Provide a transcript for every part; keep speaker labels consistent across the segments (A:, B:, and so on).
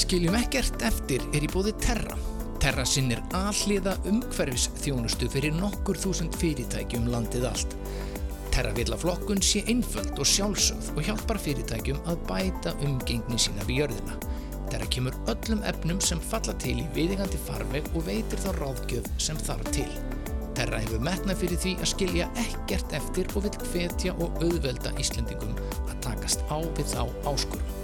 A: Skiljum ekkert eftir er í bóði Terra. Terra sinnir alliða umhverfis þjónustu fyrir nokkur þúsund fyrirtæki um landið allt. Terra vil að flokkun sé einföld og sjálfsögð og hjálpar fyrirtækjum að bæta umgengni sína við jörðina. Terra kemur öllum efnum sem falla til í viðingandi farveg og veitir þá ráðgjöf sem þarf til. Terra hefur metnað fyrir því að skilja ekkert eftir og vil hvetja og auðvelda Íslendingum að takast á við þá áskurum.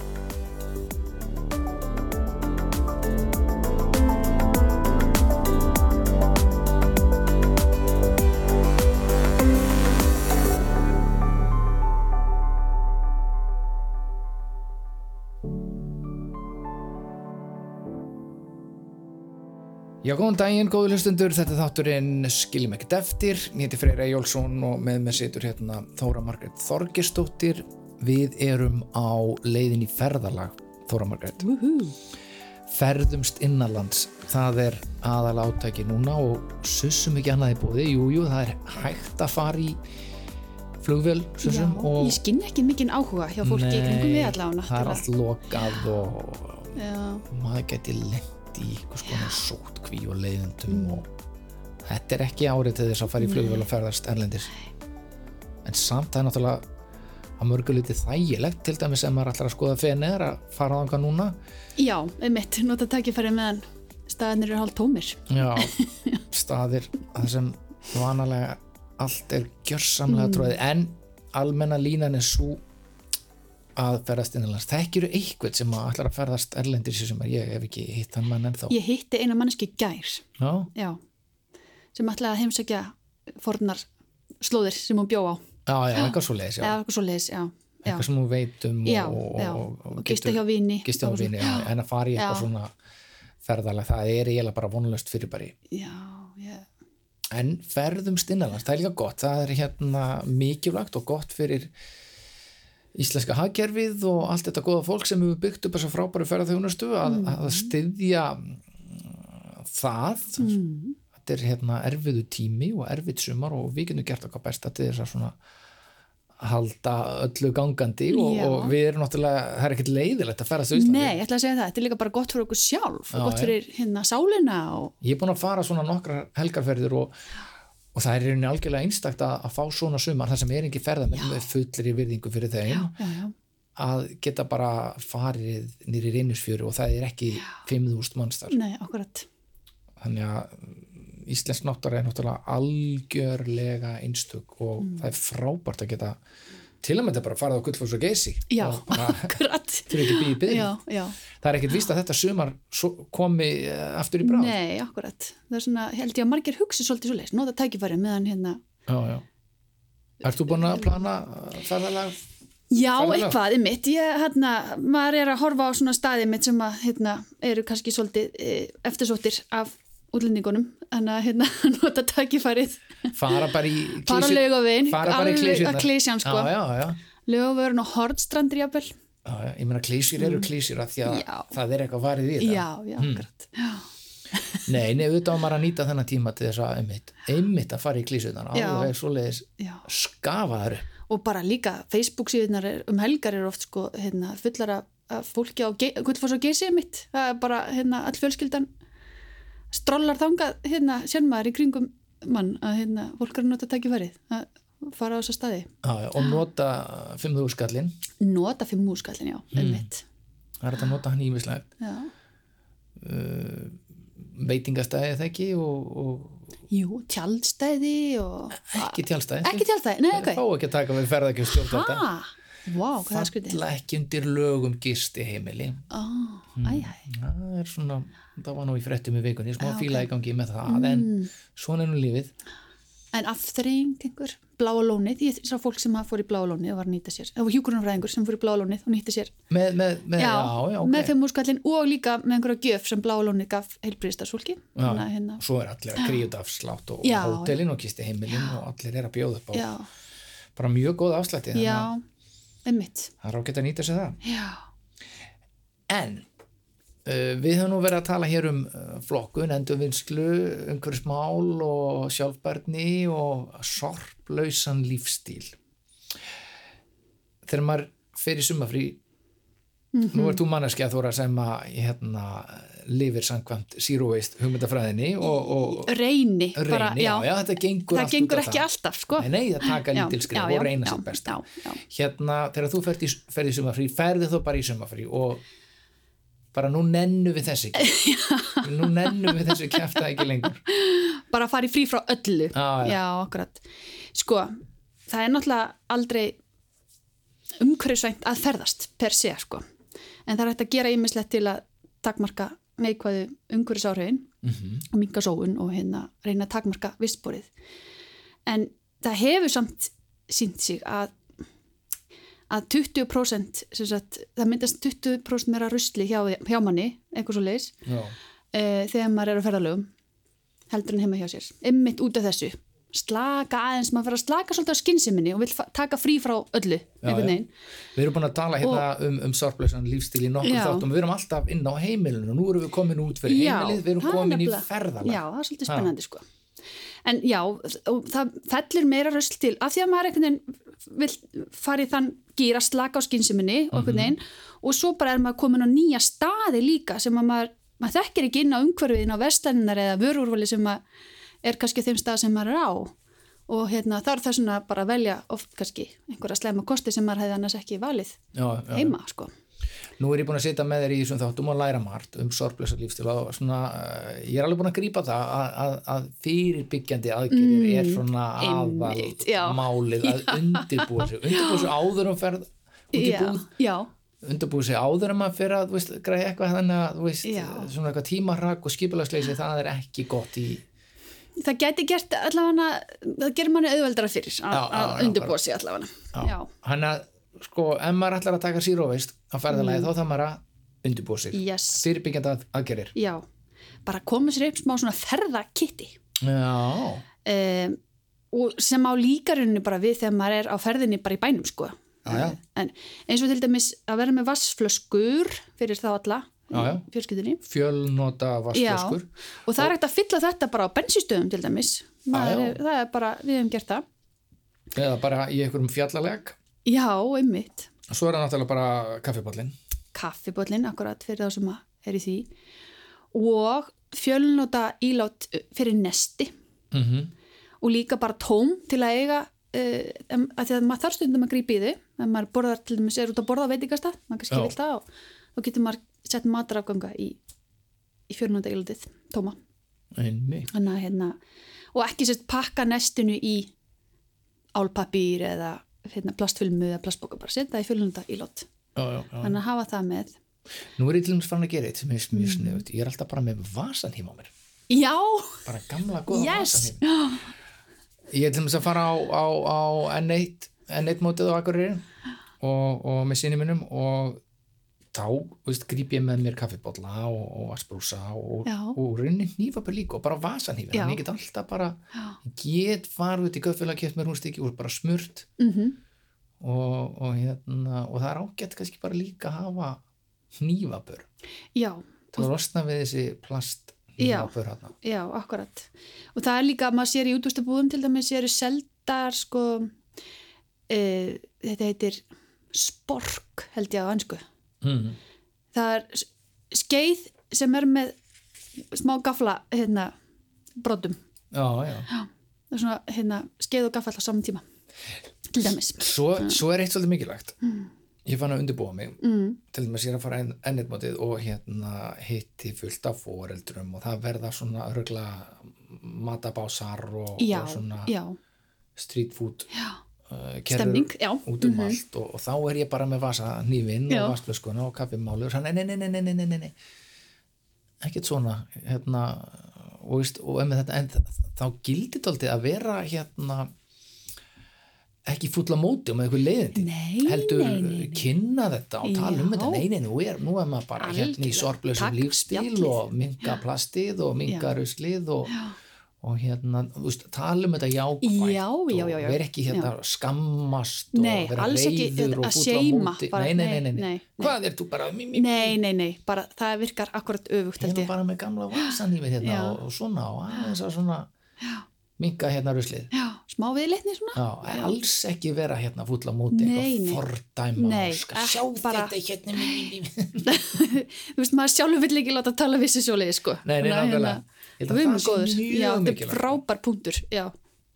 A: Já, góðan daginn, góðu hlustundur, þetta er þátturinn Skiljum ekkert eftir, ég heiti Freyra Jólfsson og með mér situr hérna Þóra Margrét Þorgesdóttir Við erum á leiðin í ferðalag, Þóra Margrét
B: Woohoo.
A: Ferðumst innanlands, það er aðal átæki núna og sussum ekki annað í bóði Jú, jú, það er hægt að fara í flugvél,
B: Já,
A: sussum og
B: Ég skinn ekki mikinn áhuga hjá fólki í kringum við allavega
A: það er allt
B: náttúrulega.
A: lokað og
B: Já,
A: maður geti lent í einhvers konar sótkví og leiðendum og þetta er ekki árið til þess að fara í flugvél og ferðast erlendis en samt það er náttúrulega að mörguleiti þægilegt til dæmis ef maður ætlar að skoða fenni er að fara á þanga núna
B: já einmitt, nota takkifæri meðan staðanir eru hálf tómir.
A: já, staðir það sem vanalega allt er gjörsamlega tróðið en almenna línan er svo að ferðast innanlands þekkir eru eitthvað sem að ætlar að ferðast erlendis sem er ég ef ekki hitt hann mann ennþá
B: Ég hitti eina manneski gær,
A: já,
B: já, sem ætlaði að heimsækja fornar slóðir sem hún bjó á.
A: já, já, eitthvað svo leiðis já.
B: Eða eitthvað svo leiðis, já. já.
A: eitthvað sem hún veit um
B: Já,
A: og,
B: já,
A: og,
B: og gista hjá vini.
A: gista hjá vini já, en að fara í eitthvað
B: Já.
A: svona ferðalega það er eiginlega bara vonlöst fyrirbæri
B: Já, já,
A: en ferðum stinnalans, það er líka gott það er hérna mikilvægt og gott fyrir íslenska hagkerfið og allt þetta góða fólk sem hefur byggt upp þessa frábæru ferðarþjónustu
B: Mm.
A: að, að styðja mm, það
B: Mm.
A: þetta er hérna erfiðu tími og erfið sumar og við getum gert okkar besta til þess að svona halda öllu gangandi og,
B: Já.
A: og við erum náttúrulega, það er ekkert leiðilegt að ferðast á Íslandi
B: Nei, ég ætla að segja það, þetta er líka bara gott fyrir okkur sjálf og
A: Já,
B: gott
A: já.
B: fyrir hérna sálina og
A: ég er búin að fara svona nokkrar helgarferðir og, og það er í rauninni algjörlega einstakt að, að fá svona sumar þar sem er ekki ferðamenn með fullri virðingu fyrir þeim
B: já, já,
A: að geta bara farið nýri reynusfjöru og það er ekki 5.000 manns þar
B: nei, akkurat,
A: þannig að mm, íslensk náttúra er náttúrulega algjörlega einstök og
B: Mm.
A: það er frábært að geta til að mynda bara farið á gullfoss og geysi
B: já,
A: og bara
B: akkurat,
A: fyrir ekki býði byrði
B: já, já.
A: það er ekkert víst að þetta sumar svo- komi eh, aftur í bráð
B: Nei, akkurat. Það er svona, held ég að margir hugsi svolítið svo leiðis, nota tækifæri meðan hérna.
A: já, já. Ert þú búin að plana eh, ferðalag?
B: Já,
A: Farðu langt.
B: eitthvað, einmitt. Ég, hérna, maður er að horfa á svona staði mitt sem að, hérna, eru kannski svolítið e, eftirsóttir af útlendingunum. Þannig að, hérna, nota tækifærið,
A: fara bara í
B: Fara á
A: klisju-
B: Laugaveginn,
A: fara bara í
B: alveg
A: klísjurnar
B: að klisjan, sko.
A: já, já, já.
B: lögavörun og hortstrandir jafnvel.
A: Já, já, ég meina klísjur eru klísjur af því að
B: Mm. Já.
A: það er eitthvað varið í það
B: Já, já, akkurat. Já,
A: nei, nei, auðvitað á maður að nýta þennan tíma til þess að einmitt, einmitt að fara í klísjurnar
B: Já.
A: alveg svoleiðis
B: já.
A: skafaður
B: Og bara líka Facebook síðunar er, um helgar eru oft, sko, hérna, fullar af, af fólki á Ge- Gullfoss og Geysið mitt. Það er bara, hérna, all fjölskyldan strollar þangað, hérna, sér maður í kringum mann að, hérna, fólk er að nota tækifærið að fara á þessa staði.
A: Já, já, og nota 5.000 skallin
B: Nota fyrir múskallin, já, mm. einmitt.
A: það er hægt að nota hann ímislegt
B: Já.
A: veitingastæði það ekki og,
B: Jú, tjaldstæði og...
A: og ekki tjálstæði
B: Ah, Ekki tjaldstæði, nei,
A: fá
B: ok.
A: ekki að taka við ferðakjöf stjórnvalda
B: Ha, vá, hvað er skrítið? Ah,
A: falla ekki undir um lögum gisti heimili
B: Ó, æj, æj.
A: það er svona, það var nú í fréttum í vikunni smá
B: Já, Mm.
A: fíla í gangi með það en svona er nú lífið
B: En afþreying einhver, bláa lónið, ég sá fólk sem fór í bláa lónið og var að nýta sér, það var hjúkurunafræðingur sem fór í bláa lónið og nýta sér,
A: með, með, með, já, já, ok
B: með fimm úrskallin og líka með einhverja gjöf sem bláa lónið gaf heilbriðstarsólki,
A: já,
B: þannig að hérna,
A: svo er allir að gríða afslátt og
B: Já,
A: hótelin og kisti heimilin og allir er að bjóða upp á
B: já,
A: bara mjög góð afslætti þannig
B: já,
A: að
B: einmitt,
A: það er ágætt að nýta sér það
B: já,
A: en Eh, Við höfum nú verið að tala hér um eh, flokkun, endurvinnslu, umhverfismál og sjálfbærni og sorplausan lífstíl. Þegar maður fer í sumafrí,
B: Mhm.
A: nú ert þú manneskja Þóra sem að hérna, lifir samkvæmt zero waste hugmyndafræðinni og, og
B: reyni, bara,
A: reyni, já, já, þetta gengur
B: það
A: allt út
B: gengur
A: á
B: ekki alltaf sko.
A: Nei, nei, það taka
B: Já,
A: lítil
B: já,
A: skrif
B: já,
A: og reyna
B: já,
A: sér best.
B: já, já.
A: Hérna, þegar þú ferð í, ferð í sumafrí, ferði þú bara í sumafrí og bara nú nennu við þessi ekki. nú nennu við þessi kæfta ekki lengur.
B: bara fara í frí frá öllu
A: Já, já.
B: akkurat sko, það er náttúrulega aldrei umhverfisvænt að ferðast per se sko en það er hægt að gera ýmislegt til að takmarka neikvæðu umhverfisáhrifin
A: Mhm.
B: og minga sóun og hérna reyna að takmarka vistborið en það hefur samt sínt sig að að 20% sem sagt, það myndast 20% meira rusli hjá, hjá manni, eitthvað svo leis
A: Já,
B: uh, þegar maður er á ferðalögum heldur en heima hjá sér, ymmit út af þessu slaka aðeins, maður fyrir að slaka svolítið á skynnseminni og vill fa- taka frí frá öllu einhvern
A: já.
B: veginn,
A: Við erum búin að tala hérna um, um sorglausan lífstíl í nokkur
B: Já.
A: þáttum. Við erum alltaf inn á heimilinu. Nú erum við komin út fyrir
B: Já,
A: heimilið, við erum
B: það er
A: komin í
B: nefnilega-
A: ferðalag.
B: já, það er svolítið
A: Ha.
B: spennandi sko. en já, og það fellur meira rösl til, af því að maður einhvern veginn vill fara í þann gýra slaka á skynnseminni og
A: Mhm.
B: einhvern veginn og svo bara er maður komin á nýja staði líka sem að maður, maður þekkir ekki inn á umhverfiðin á vestlæninar eða vörurvali sem að er kannski á þeim stað sem maður er á og hérna, það er það svona bara að velja oft kannski einhverja slæma kosti sem maður hefði annars ekki valið
A: Já, já, já.
B: heima sko.
A: Nú er ég búin að sitja með þér í þessum þáttum og læra margt um sorglösa lífstíl og svona, eh, ég er alveg búin að grípa það að, að, að fyrirbyggjandi aðgerðir er svona
B: Mm, einmitt, já.
A: aðal málið að undirbúa sig, undirbúa sig áður um ferð,
B: Já,
A: undirbúa,
B: já,
A: undirbúa sig áður um að fyrir að þú veist, græja eitthvað þannig að þú veist,
B: Já.
A: svona eitthvað tímarrak og skipulagsleysi, það er ekki gott í,
B: það gæti gert allavega, það gerir manni auðveldara fyrir að,
A: Já, já,
B: að
A: já,
B: undirbúa sig allavega já.
A: hann að sko, ef maður ætlar að taka síróveist á ferðalagi þá þarf maður að undirbúa sig,
B: Mm. Yes.
A: fyrirbyggjandi að, aðgerðir.
B: já, bara koma sér upp smá svona ferðakitti
A: Já,
B: um, og sem á líkarunni bara við þegar maður er á ferðinni bara í bænum sko
A: Já, já.
B: En, eins og til dæmis að vera með vassflöskur fyrir þá alla
A: Já, já.
B: fjörskildinni
A: fjölnota vaskflöskur.
B: og það er hægt að fylla þetta bara á bensistöðum til dæmis Maður
A: já.
B: er, það er bara, við hefum gert það
A: eða bara í einhverjum fjallaleg
B: já, einmitt
A: svo er það náttúrulega bara kaffiballin
B: kaffiböllin akkurat fyrir þá sem að er í því og fjölnota ílát uh, fyrir nesti
A: mm
B: og líka bara tóm til að eiga uh, em- af því að maður þarf stundum að grípa í því ef maður borðar til dæmis, er út að borða á veitingastað maður kannski
A: Já.
B: vil það og þá getur maður sett matarafganga í, í fjölnota ílátið tóma
A: einmitt
B: Þannig, að, hérna, og ekki sérst pakka nestinu í álpapýr eða hérna, plastfilmu eða plastbóka bara setja það í fjölnota ílát
A: já, já, já.
B: þannig að hafa það með
A: nú er ég til dæmis farin að gera eitt sem er mjög sniðut ég er alltaf bara með vasan heima á mér
B: já
A: bara gamla góða
B: yes.
A: vasan ég er til dæmis að fara á, á, á N1 N1 mótið á Akureyri og, og með sinni minnum og þá, veist, gríp ég með mér kaffibotla og, og asprúsa og,
B: Já.
A: og runni hnífapur líka og bara vasan hnífa,
B: Já.
A: en ég get alltaf bara get farið út í kaffibotla, keft mér húnstykki og bara smurt
B: mm
A: og, og, hérna, og það er ágætt kannski bara líka að hafa hnífabör
B: Já,
A: til að losna við þessi plast hnífabör hérna
B: já, akkurat. Og það er líka, maður sér í útústabúðum til dæmis, sér seldar, sko, e, þetta heitir spork, held ég á ansku.
A: mm.
B: Það er s- skeið sem er með smá gafla, hérna, brotum.
A: já, já.
B: Það er svona, hérna, skeið og gafla á saman tíma, til dæmis.
A: Svo,
B: Hérna.
A: svo er eitt svolítið mikilvægt ég fann að undirbúa mig
B: Mm,
A: til þess að ég er að fara ennirmótið og hérna hitti fullt af foreldrum og það verða svona örgla matabásar og,
B: já,
A: og svona
B: já,
A: street food
B: já,
A: uh, kerrur
B: stemning, já. Mhm.
A: út um allt og, og þá er ég bara með vasa nývinn
B: Já.
A: og vasklöskuna og kaffimálur hann, nei, nei, nei, nei, nei, nei, nei, nei ekkert svona hérna, og, veist, og ef með þetta en þ- þá gildi tóldi að vera hérna ekki fulla móti og með eitthvað leiðindi
B: Nei,
A: heldur eh,
B: nei, nei, nei.
A: kynna þetta og tala um
B: Já.
A: þetta, nei, nei, nú er, nú er maður bara hérna í
B: Algjörlega.
A: sorglausum
B: Takk,
A: lífstíl
B: spjallið.
A: og minga plastið og minga ruslið og,
B: Já.
A: og hérna, þú veist, tala um þetta jákvæmt
B: Já, já, já, já.
A: og vera ekki hérna að skammast og
B: Nei,
A: vera
B: alls ekki
A: reyður og
B: að
A: búið á
B: seima
A: móti
B: bara,
A: nei, nei, nei, nei, nei.
B: nei, nei.
A: hvað er þú bara mí, mí,
B: Nei, nei, nei, bara það virkar akkurat
A: ég
B: öfugt
A: er
B: held
A: nú
B: ég.
A: bara með gamla vaksanýmið hérna
B: Já.
A: og, og svona og aðeins að svona minga hérna ruslið
B: Já, smá viðleitni svona.
A: Já, en alls ekki vera hérna fúll á móti
B: Nei,
A: eitthvað
B: nei.
A: fordæma
B: Nei,
A: og skal
B: ekki
A: sjá
B: bara-
A: þetta hérna mí, mí, mí.
B: Þú veist, maður sjálfur vill ekki láta tala vissi svo leiði, sko.
A: Nei, nei,
B: Þannig að,
A: nákvæmlega Ég held að
B: Við erum
A: það sé
B: góður, já,
A: mjög
B: þetta er
A: mikilvægt.
B: frábær punktur, já,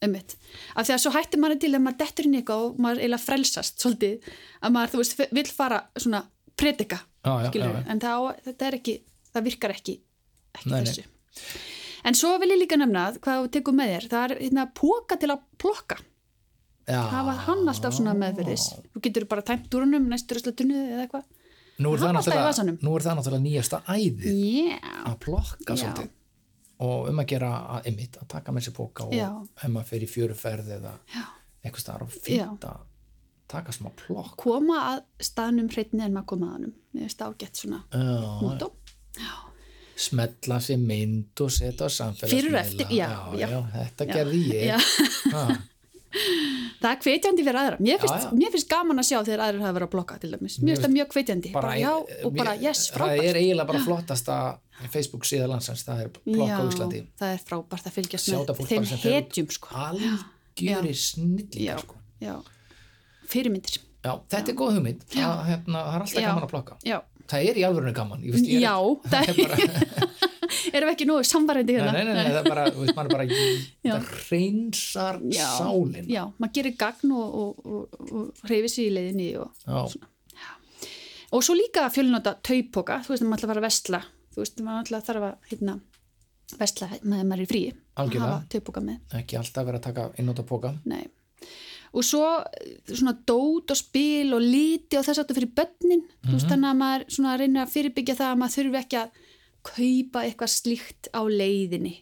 B: ummitt. Af því að svo hættir maður til að maður dettur inn í eitthvað og maður eiginlega frelsast svolítið, að maður, þú veist, vill fara svona predika,
A: Já, já, já,
B: skilur
A: já.
B: en það, á- þetta er ekki, það virkar ekki, ekki
A: Nei, nei.
B: þessu. En svo vil ég líka nefna að hvað þú tekur með þér, það er hérna póka til að plokka,
A: Já.
B: hafa hann alltaf svona meðverðis, þú getur bara tæmt úr hannum næstur ösla dunnið eða eitthvað.
A: Nú er,
B: Hann
A: það
B: alltaf í
A: náttúrulega,
B: vasanum.
A: nú er það náttúrulega nýjasta æði
B: Yeah.
A: að plokka
B: Já.
A: svolítið og um að gera að, einmitt, að taka með sér póka og
B: Já.
A: ef maður fer í fjöruferð eða
B: Já.
A: eitthvað staðar og fínt að taka smá plokk
B: Koma að staðnum hreitni en maður koma að hannum, mér finnst það ágætt svona
A: Já,
B: mútum.
A: smetla sér mynd og setja á samfélagsmiðla
B: Fyrir og eftir, já, já.
A: þetta gerði
B: Já.
A: ég ha,
B: Það er hvetjandi fyrir aðra. Mér finnst,
A: Já, já.
B: mér finnst gaman að sjá þegar aðrir hafa verið að blokka til dæmis. Mér finnst það mjög hvetjandi. Bara, já, og bara,
A: mér-
B: yes,
A: það
B: frábært.
A: er eiginlega bara flottasta Facebook síða landsins, það er plokk á Íslandi
B: já, það er frábært að fylgjast
A: Sjá þetta
B: með
A: fólk
B: þeim
A: bara sem fer út.
B: hetjum, sko.
A: algjöri
B: Já,
A: snillingar sko.
B: já. Fyrirmyndir.
A: Já, þetta er góð hugmynd, það, hérna, það er alltaf
B: Já.
A: gaman að plokka.
B: Já,
A: Það er í alvörinu gaman, ég veist, ég er,
B: já.
A: það
B: Það
A: er bara,
B: erum við ekki nógu
A: nei,
B: samvarandi hérna.
A: nei, nei, nei, það er bara, þú veist, maður er bara,
B: Já.
A: það reynsar
B: Já.
A: sálin.
B: Já, maður gerir gagn og, og, og, og hreyfir sér í leiðinni og
A: Já,
B: og svo líka að fjölnota taupoka þú veist, maður ætla að fara að vestla þú veist, maður ætla að þarf að hérna, vestla með maður er í frí
A: Algjörlega.
B: að hafa taupoka með
A: ekki alltaf verið að taka innóta póka.
B: Nei. og svo eh, svona dót og spil og liti og þess aftur fyrir börnin þú veist, þannig að maður svona reynir að fyrirbyggja það að maður þurfi ekki að kaupa eitthvað slíkt á leiðinni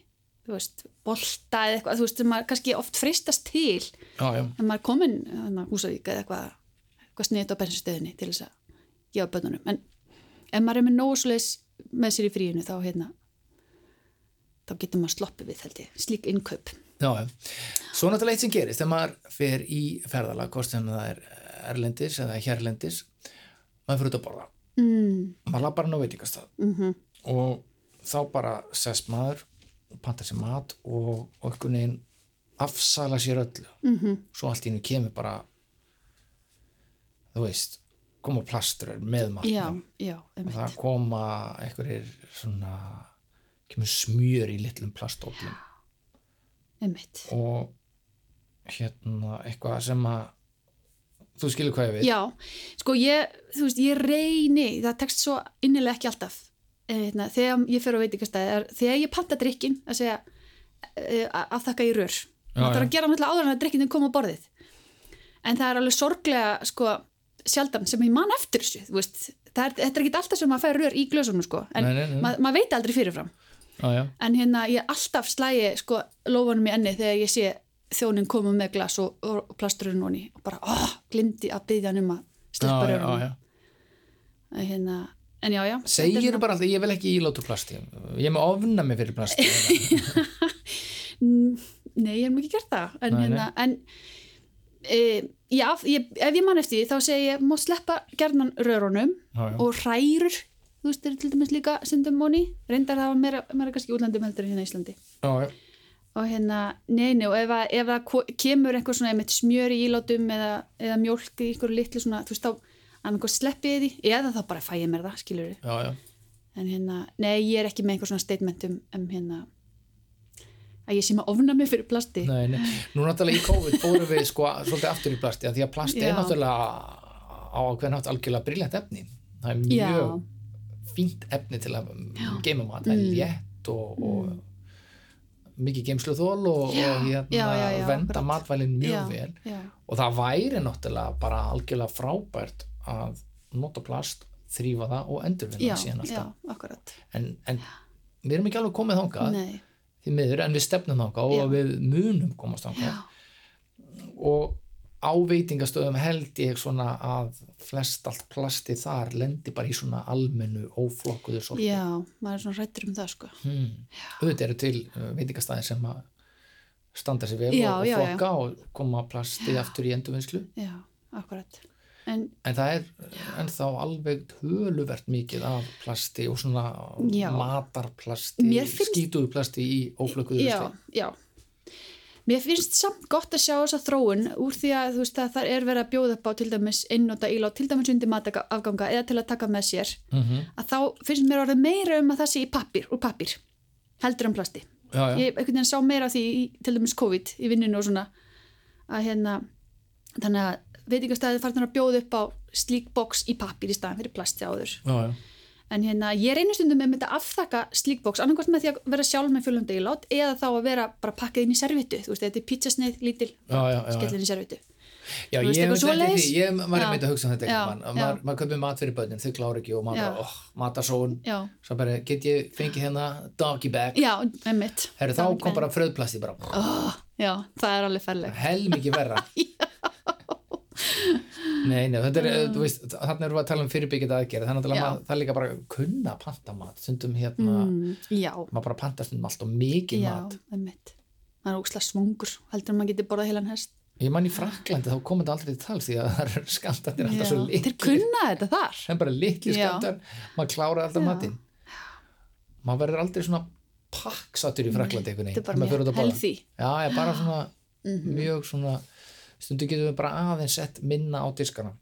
B: þú veist, bolta eða eitthvað þú veist, maður kannski oft freistast til
A: Já, já,
B: en maður er komin hana, húsavík eða eitthvað, eitthvað snið á bensinstöðinni til þess að gefa bönnunum en ef maður er með nógu svoleiðis með sér í fríinu þá hérna þá getur maður sloppið við held ég slík innkaup
A: já, já. Svo náttúrulega eitt sem gerist, þegar maður fer í ferðalag, hvort sem það er erlendis eða hérlendis, maður fyrir út að borða.
B: mm,
A: Maður lappar hann á veitingastað
B: mm
A: og þá bara sest maður og pantar sér mat og og einhvern veginn afsala sér öllu -hmm.
B: Mhm.
A: svo allt í hennu kemur bara þú veist koma plastur með matnum
B: já, já,
A: og
B: einmitt
A: það koma einhverjir svona kemur smjör í litlum plastoflum
B: einmitt
A: og hérna eitthvað sem að þú skilur hvað ég við
B: Já, sko ég, þú veist, ég reyni, það tekst svo innilega ekki alltaf Eh, hérna, þegar ég fer á veitingastæði, er- þegar ég panta drikkin að segja eh, að- afþakka í rör. Það þarf
A: já.
B: að gera náttúrulega áður en að drikkin kom á borðið. En það er alveg sorglega, sko, sjaldan sem ég man eftir þessu, þú veist. Það er, þetta er ekki alltaf sem maður fær rör í glösunum, sko, en
A: Nei, nei, nei.
B: maður veit aldrei fyrirfram.
A: Já, já.
B: En hérna, ég alltaf slægi, sko, lófanum í enni þegar ég sé þjónin koma með glas og, og plasturinn honni og bara, oh, glindi að byggja hann um að
A: Já,
B: sleppa
A: já,
B: rörunum
A: já, já.
B: að hérna, en já, já þetta er
A: segir
B: svona-
A: bara alltaf, ég vil ekki ílátu plasti ég er með ofnami fyrir plasti
B: Mm, nei, ég hef nú ekki gert það en,
A: Nei, nei.
B: hérna, en e, já, ég, ef ég man eftir því þá segi ég, má sleppa gerðnan rörunum
A: Já, já.
B: og hrærur þú veist, er til dæmis líka sundum móni reyndar það var meira, meira kannski í útlandum heldur en hérna í Íslandi
A: já, já.
B: og hérna, nei, nei, og ef, að, ef það ko- kemur einhver svona einmitt smjör í ílátum eða, eða mjólk í einhverju litlu svona, þú veist, þá að einhver sleppi ég því eða þá bara fæ ég mér það, skilur
A: já, já.
B: en hérna, nei, ég er ekki með einhver svona statement um, um hérna að ég sé maður ofna mig fyrir plasti
A: Nei, nei. Nú náttúrulega í COVID fórum við sko svolítið aftur í plasti af því að plasti
B: Já.
A: er náttúrulega á hvern hátt algjörlega briljant efni. Það er
B: Já.
A: mjög fínt efni til að geima mat. Það er
B: Mm.
A: létt og, og mikið geimslu þól og,
B: Já.
A: og hérna,
B: Já, já, já,
A: venda
B: akkurat.
A: matvælin mjög vel.
B: já, já,
A: Og það væri náttúrulega bara algjörlega frábært að nota plast, þrýfa það og endurvinna
B: já,
A: það síðan
B: já,
A: alltaf.
B: akkurat
A: En, en við erum ekki alveg komið þangað
B: nei,
A: því miður en við stefnum þangað
B: Já.
A: og við munum komast þangað og á veitingastöðum held ég svona að flest allt plasti þar lendi bara í svona almennu óflokkuðu sorti
B: já, maður er svona rættur um það sko
A: hmm. auðvitað eru til uh, veitingastæðir sem að standa sér vel
B: Já,
A: og, og
B: já, já.
A: flokka og koma plastið aftur í endurvinnslu
B: já, akkurat en
A: en það er ennþá alveg töluvert mikið af plasti og svona
B: Já.
A: matarplasti
B: Mér finnst-
A: skítuðu plasti í óflökuðu
B: já, já Mér finnst samt gott að sjá þessa þróun úr því að þú veist að það er verið að bjóða upp á til dæmis einnota ílát, til dæmis undir matafganga eða til að taka með sér
A: mm -hmm.
B: að þá finnst mér orðið meira um að það sé í pappir úr pappir, heldur um plasti
A: já, já.
B: ég einhvern veginn sá meira af því í, til dæmis COVID í vinninu og svona að hérna, þannig að veitingastæði farnar að bjóða upp á slík box í pappir í staðan fyrir plasti áður
A: Já, já.
B: En hérna, ég reynir stundum með að afþakka slíkboks, annarkvæmt með því að vera sjálf með fjölum degilátt eða þá að vera bara pakkað inn í servitu, þú veist, þetta er pizzasneið lítil,
A: Já, já, já, já.
B: skellir inn í servitu.
A: Já, ég hef
B: Þú veist, eitthvað
A: þetta ekki
B: svoleiðis?
A: því, ég var
B: Já.
A: einmitt að hugsa um þetta
B: Já,
A: ekki,
B: já.
A: maður, maður kaupir mat fyrir börnin, þau klára ekki og maður
B: Já.
A: bara, oh, matarsón,
B: Já,
A: svo bara, get ég fengið hérna doggy bag,
B: já, emmitt.
A: herru þá kom bara fröðplasti, bara
B: Já, það er alveg ferleg.
A: hel mikið verra. nei, nei, þetta er, þú veist, þarna erum við að tala um fyrirbyggjandi aðgerð, þannig að
B: Mm. Já.
A: maður, það er líka bara að kunna að panta mat, stundum hérna,
B: Mm, já,
A: maður bara panta stundum allt og mikið
B: já,
A: mat.
B: emmitt. Það er ókslega svongur, heldur en maður getur borðað heilan hest.
A: Ég man í Fraklandi, þá kom þetta aldrei til tals því að það eru skamtandir
B: Já,
A: alltaf svo
B: Þeir
A: litlir.
B: kunna þetta þar.
A: sem bara litli
B: Já.
A: skamtar maður klárar alltaf
B: Já.
A: matinn maður verður aldrei svona pakksatur í fraklandi einhvern
B: Þetta er
A: veginn þegar
B: bara
A: maður fer út
B: mjög
A: að borða.
B: healthy. Mhm.
A: já, ég bara svona mjög svona stundu getum við bara aðeins sett minna á diskana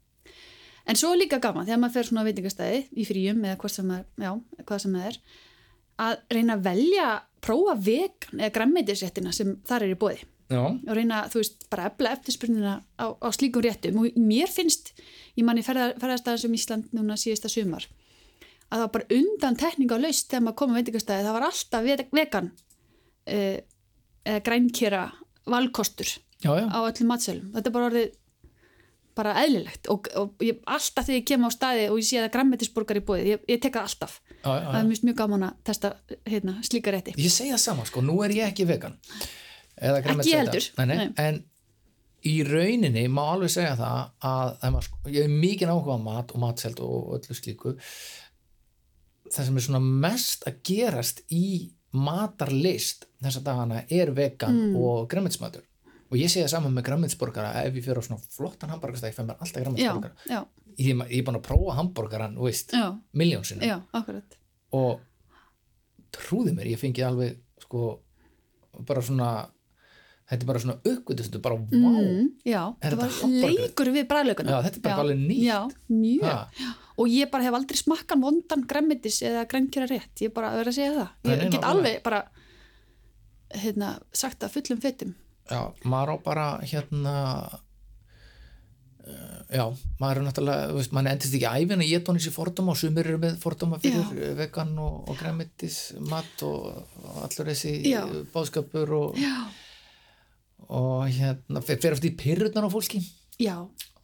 B: En svo er líka gaman þegar maður fer svona á veitingastæði í fríum eða hvort sem maður, já, hvað sem það er að reyna að velja, prófa vegan eða græmmetisréttina sem þar er í bóði
A: já,
B: og reyna, þú veist, bara efla eftirspurnina á, á slíkum réttum og mér finnst, ég manni ferðastæðan sem Ísland núna síðasta sumar að það var bara undan tekninga laust þegar maður kom á veitingastæði, það var alltaf ve- vegan eh, eða grænkera valkostur
A: já, já,
B: á öllum matsölum þetta er bara orðið bara eðlilegt og, og ég, alltaf þegar ég kem á staði og ég sé að það er grammetisborgar í bóði ég, ég tek það alltaf,
A: já, já,
B: það er
A: já.
B: mjög, mjög gaman að testa hérna, slíka rétti
A: Um, ég segi það sama sko, nú er ég ekki vegan eða
B: Ekki heldur.
A: nei, nei.
B: Nei.
A: en í rauninni má alveg segja það að, að maður, sko, ég er mikið áhuga á mat og matselt og öllu slíku það sem er svona mest að gerast í matarlist þessa dagana er vegan
B: Mm.
A: og græmminsmatur og ég segja saman með græmminsborgara ef ég fyrir á svona flottan hamburgarstæk fæ mér alltaf
B: já,
A: græmminsborgara
B: já,
A: ég, ég er búin að prófa hamburgaran, þú veist,
B: já,
A: miljón sinni
B: já, akkurat
A: og trúði mér, ég fengi alveg sko, bara svona þetta er bara svona aukvitað bara vá,
B: mm, já,
A: Er
B: það
A: þetta
B: var
A: hamborgari?
B: leikur við bræðlauguna
A: Já, þetta er bara alveg nýtt.
B: já, mjög,
A: ha,
B: og ég bara hef aldrei smakkan vondan grammetis eða grænkera rétt ég bara verið að segja það,
A: Nei,
B: ég
A: nei,
B: get
A: nákvæmlega.
B: alveg bara hérna, sagt það fullum fettum
A: já, maður á bara hérna eh, já, maður er náttúrulega þú veist, maður endist ekki æfina í etónis í fordóma og sumir eru með fordóma fyrir vegan og, og græmitis mat og, og allur þessi
B: Já.
A: bóðskapur og,
B: já,
A: og hérna, fer fer eftir í pyrrutnar á fólki
B: já,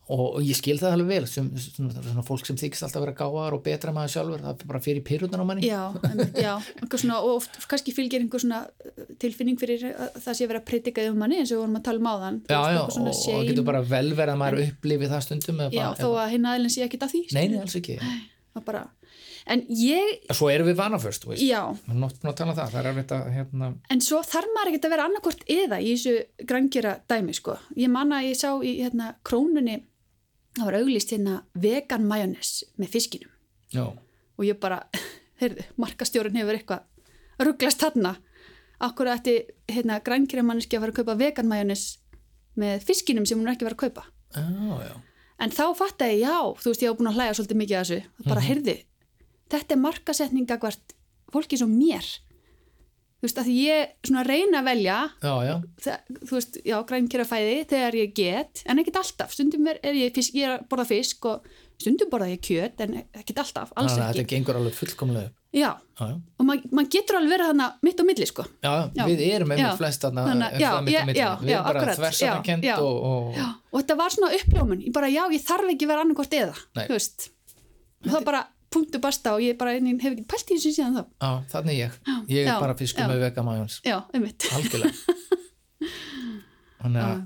A: og, og ég skil það alveg vel sem, svona, svona fólk sem þykist alltaf vera gáðar og betra en maður sjálfur, það er bara fyrir pyrrunar á manni
B: Já, einmitt, já, eitthvað svona, og oft kannski fylgir einhver svona uh, tilfinning fyrir að það sé verið að predikaði um manni eins og við vorum að tala um áðan Þú
A: já,
B: veist,
A: já,
B: eitthvað
A: og,
B: svona
A: og
B: shame.
A: getur bara vel verið að maður upplifi það stundum eða
B: Já,
A: bara,
B: þó að hinn aðeins sé ekkit að því
A: eða, nei, nei, alls ekki,
B: nei bara, En ég,
A: svo erum við vanaförst við
B: já,
A: erum nátt búin að tala um það, það er erfitt að hérna,
B: en svo þarf maður ekkert að vera annarkvort eða í þessu grænkjara dæmi sko. ég manna að ég sá í hérna, krónunni það var auglýst hérna vegan majónes með fiskinum
A: já,
B: og ég bara, heyrðu, markastjórun hefur eitthvað rugglast þarna akkur ætti hérna grænkjæra manneski að fara að kaupa vegan majónis með fiskinum sem hún er ekki að fara að kaupa
A: já, já
B: en þá fattaði ég, já, þú veist, ég á búin að hlæja svolítið mikið að þessu, bara heyrðu þetta er markasetninga hvert fólki svo mér þú veist, að því ég svona reyna að velja
A: Já, já,
B: það, þú veist, já, grænkjæra fæði þegar ég get, en ekkit alltaf stundum er, er ég, fisk, ég er að borða fisk og stundum borða ég kjöt, en ekkit alltaf alls
A: Þannig að
B: ekki,
A: þetta gengur alveg fullkomlega upp.
B: já
A: Já, já.
B: og maður mað getur alveg verið hana mitt á milli sko
A: Já, já,
B: Já.
A: við erum einmitt
B: Já.
A: flest þarna
B: Þannig að-
A: um
B: já,
A: það mitt á
B: já,
A: milli.
B: já,
A: Við
B: já,
A: erum bara
B: akkurat, já,
A: þversatnakent
B: já.
A: og, og
B: já. og þetta var svona uppljómun ég bara já, ég þarf ekki vera annarkort eða
A: Nei.
B: þú veist, og það bara punktu basta og ég bara ég hef ekki pælt í þessu síðan þá
A: já, þannig ég. Ég er
B: Já,
A: bara fiskur
B: já.
A: með vegamæjóns.
B: já, einmitt
A: algjörlega þannig að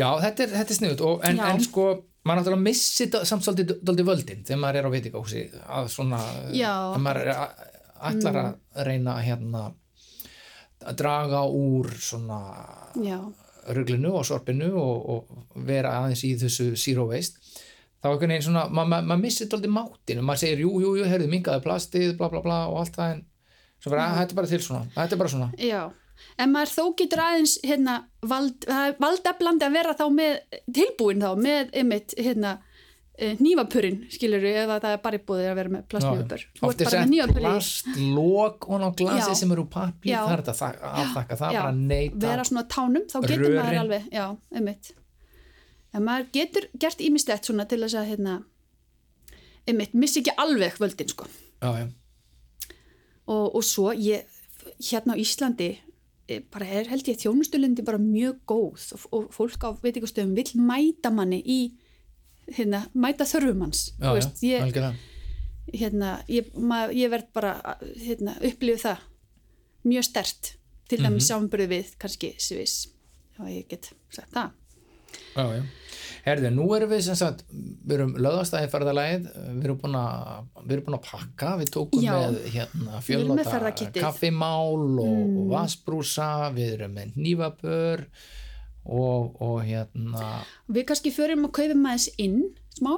A: já, þetta er, þetta er sniðut og, en,
B: Já.
A: en sko, maður náttúrulega missi dál- samt svolítið dóldi völdin þegar maður er á veitingahúsi að svona,
B: Já, Mm.
A: að maður er að- ætlar að reyna að hérna að draga úr svona
B: já,
A: ruglinu og sorpinu og, og vera aðeins í þessu zero waste þá einhvern veginn svona, maður ma, ma missir tóldi máttin og maður segir, jú, jú, jú, herðu, mingaði plastið bla, bla, bla og allt það en svo verður, þetta er bara til svona, þetta er bara svona
B: já. En maður þó getur aðeins hérna, vald, það er valdeflandi að vera þá með tilbúin þá, með einmitt hérna, nývapurinn, skilur við, ef að það er bara í búðið að vera með plastnývapur.
A: Já, oft er sett plastlók og ná glasið
B: Já.
A: sem eru úr pappír,
B: Já.
A: það er þetta að þak- afþakka það er
B: Já.
A: bara að neita
B: vera svona á tánum, þá getur maður
A: Rörin.
B: alveg já, einmitt en maður getur gert ímislegt svona til þess að hérna, einmitt, missi ekki alveg völdin sko
A: já, já.
B: og, og svo ég, hérna á Íslandi eh, bara er held ég þjónustulendi bara mjög góð og, og fólk á veitingastöðum vill mæta manni í hérna, mæta þörfum hans
A: Já,
B: Þú
A: já,
B: veist, ég,
A: algjörlega.
B: hérna, ég, mað, ég verð bara hérna, upplifu það mjög stert til dæmis mm
A: Mhm.
B: við kannski sviss og ég get sagt það
A: Já, já. Herðu, nú erum við sem sagt, við erum löðastæði ferðalæð, við erum búin að, við erum búin að pakka, við tókum
B: Já.
A: með hérna
B: Við erum með Mm.
A: fjölóta
B: ferðakittið.
A: kaffimál og, og vasbrúsa, við erum með nývapör og, og hérna,
B: Við kannski förum og kaupum aðeins inn smá,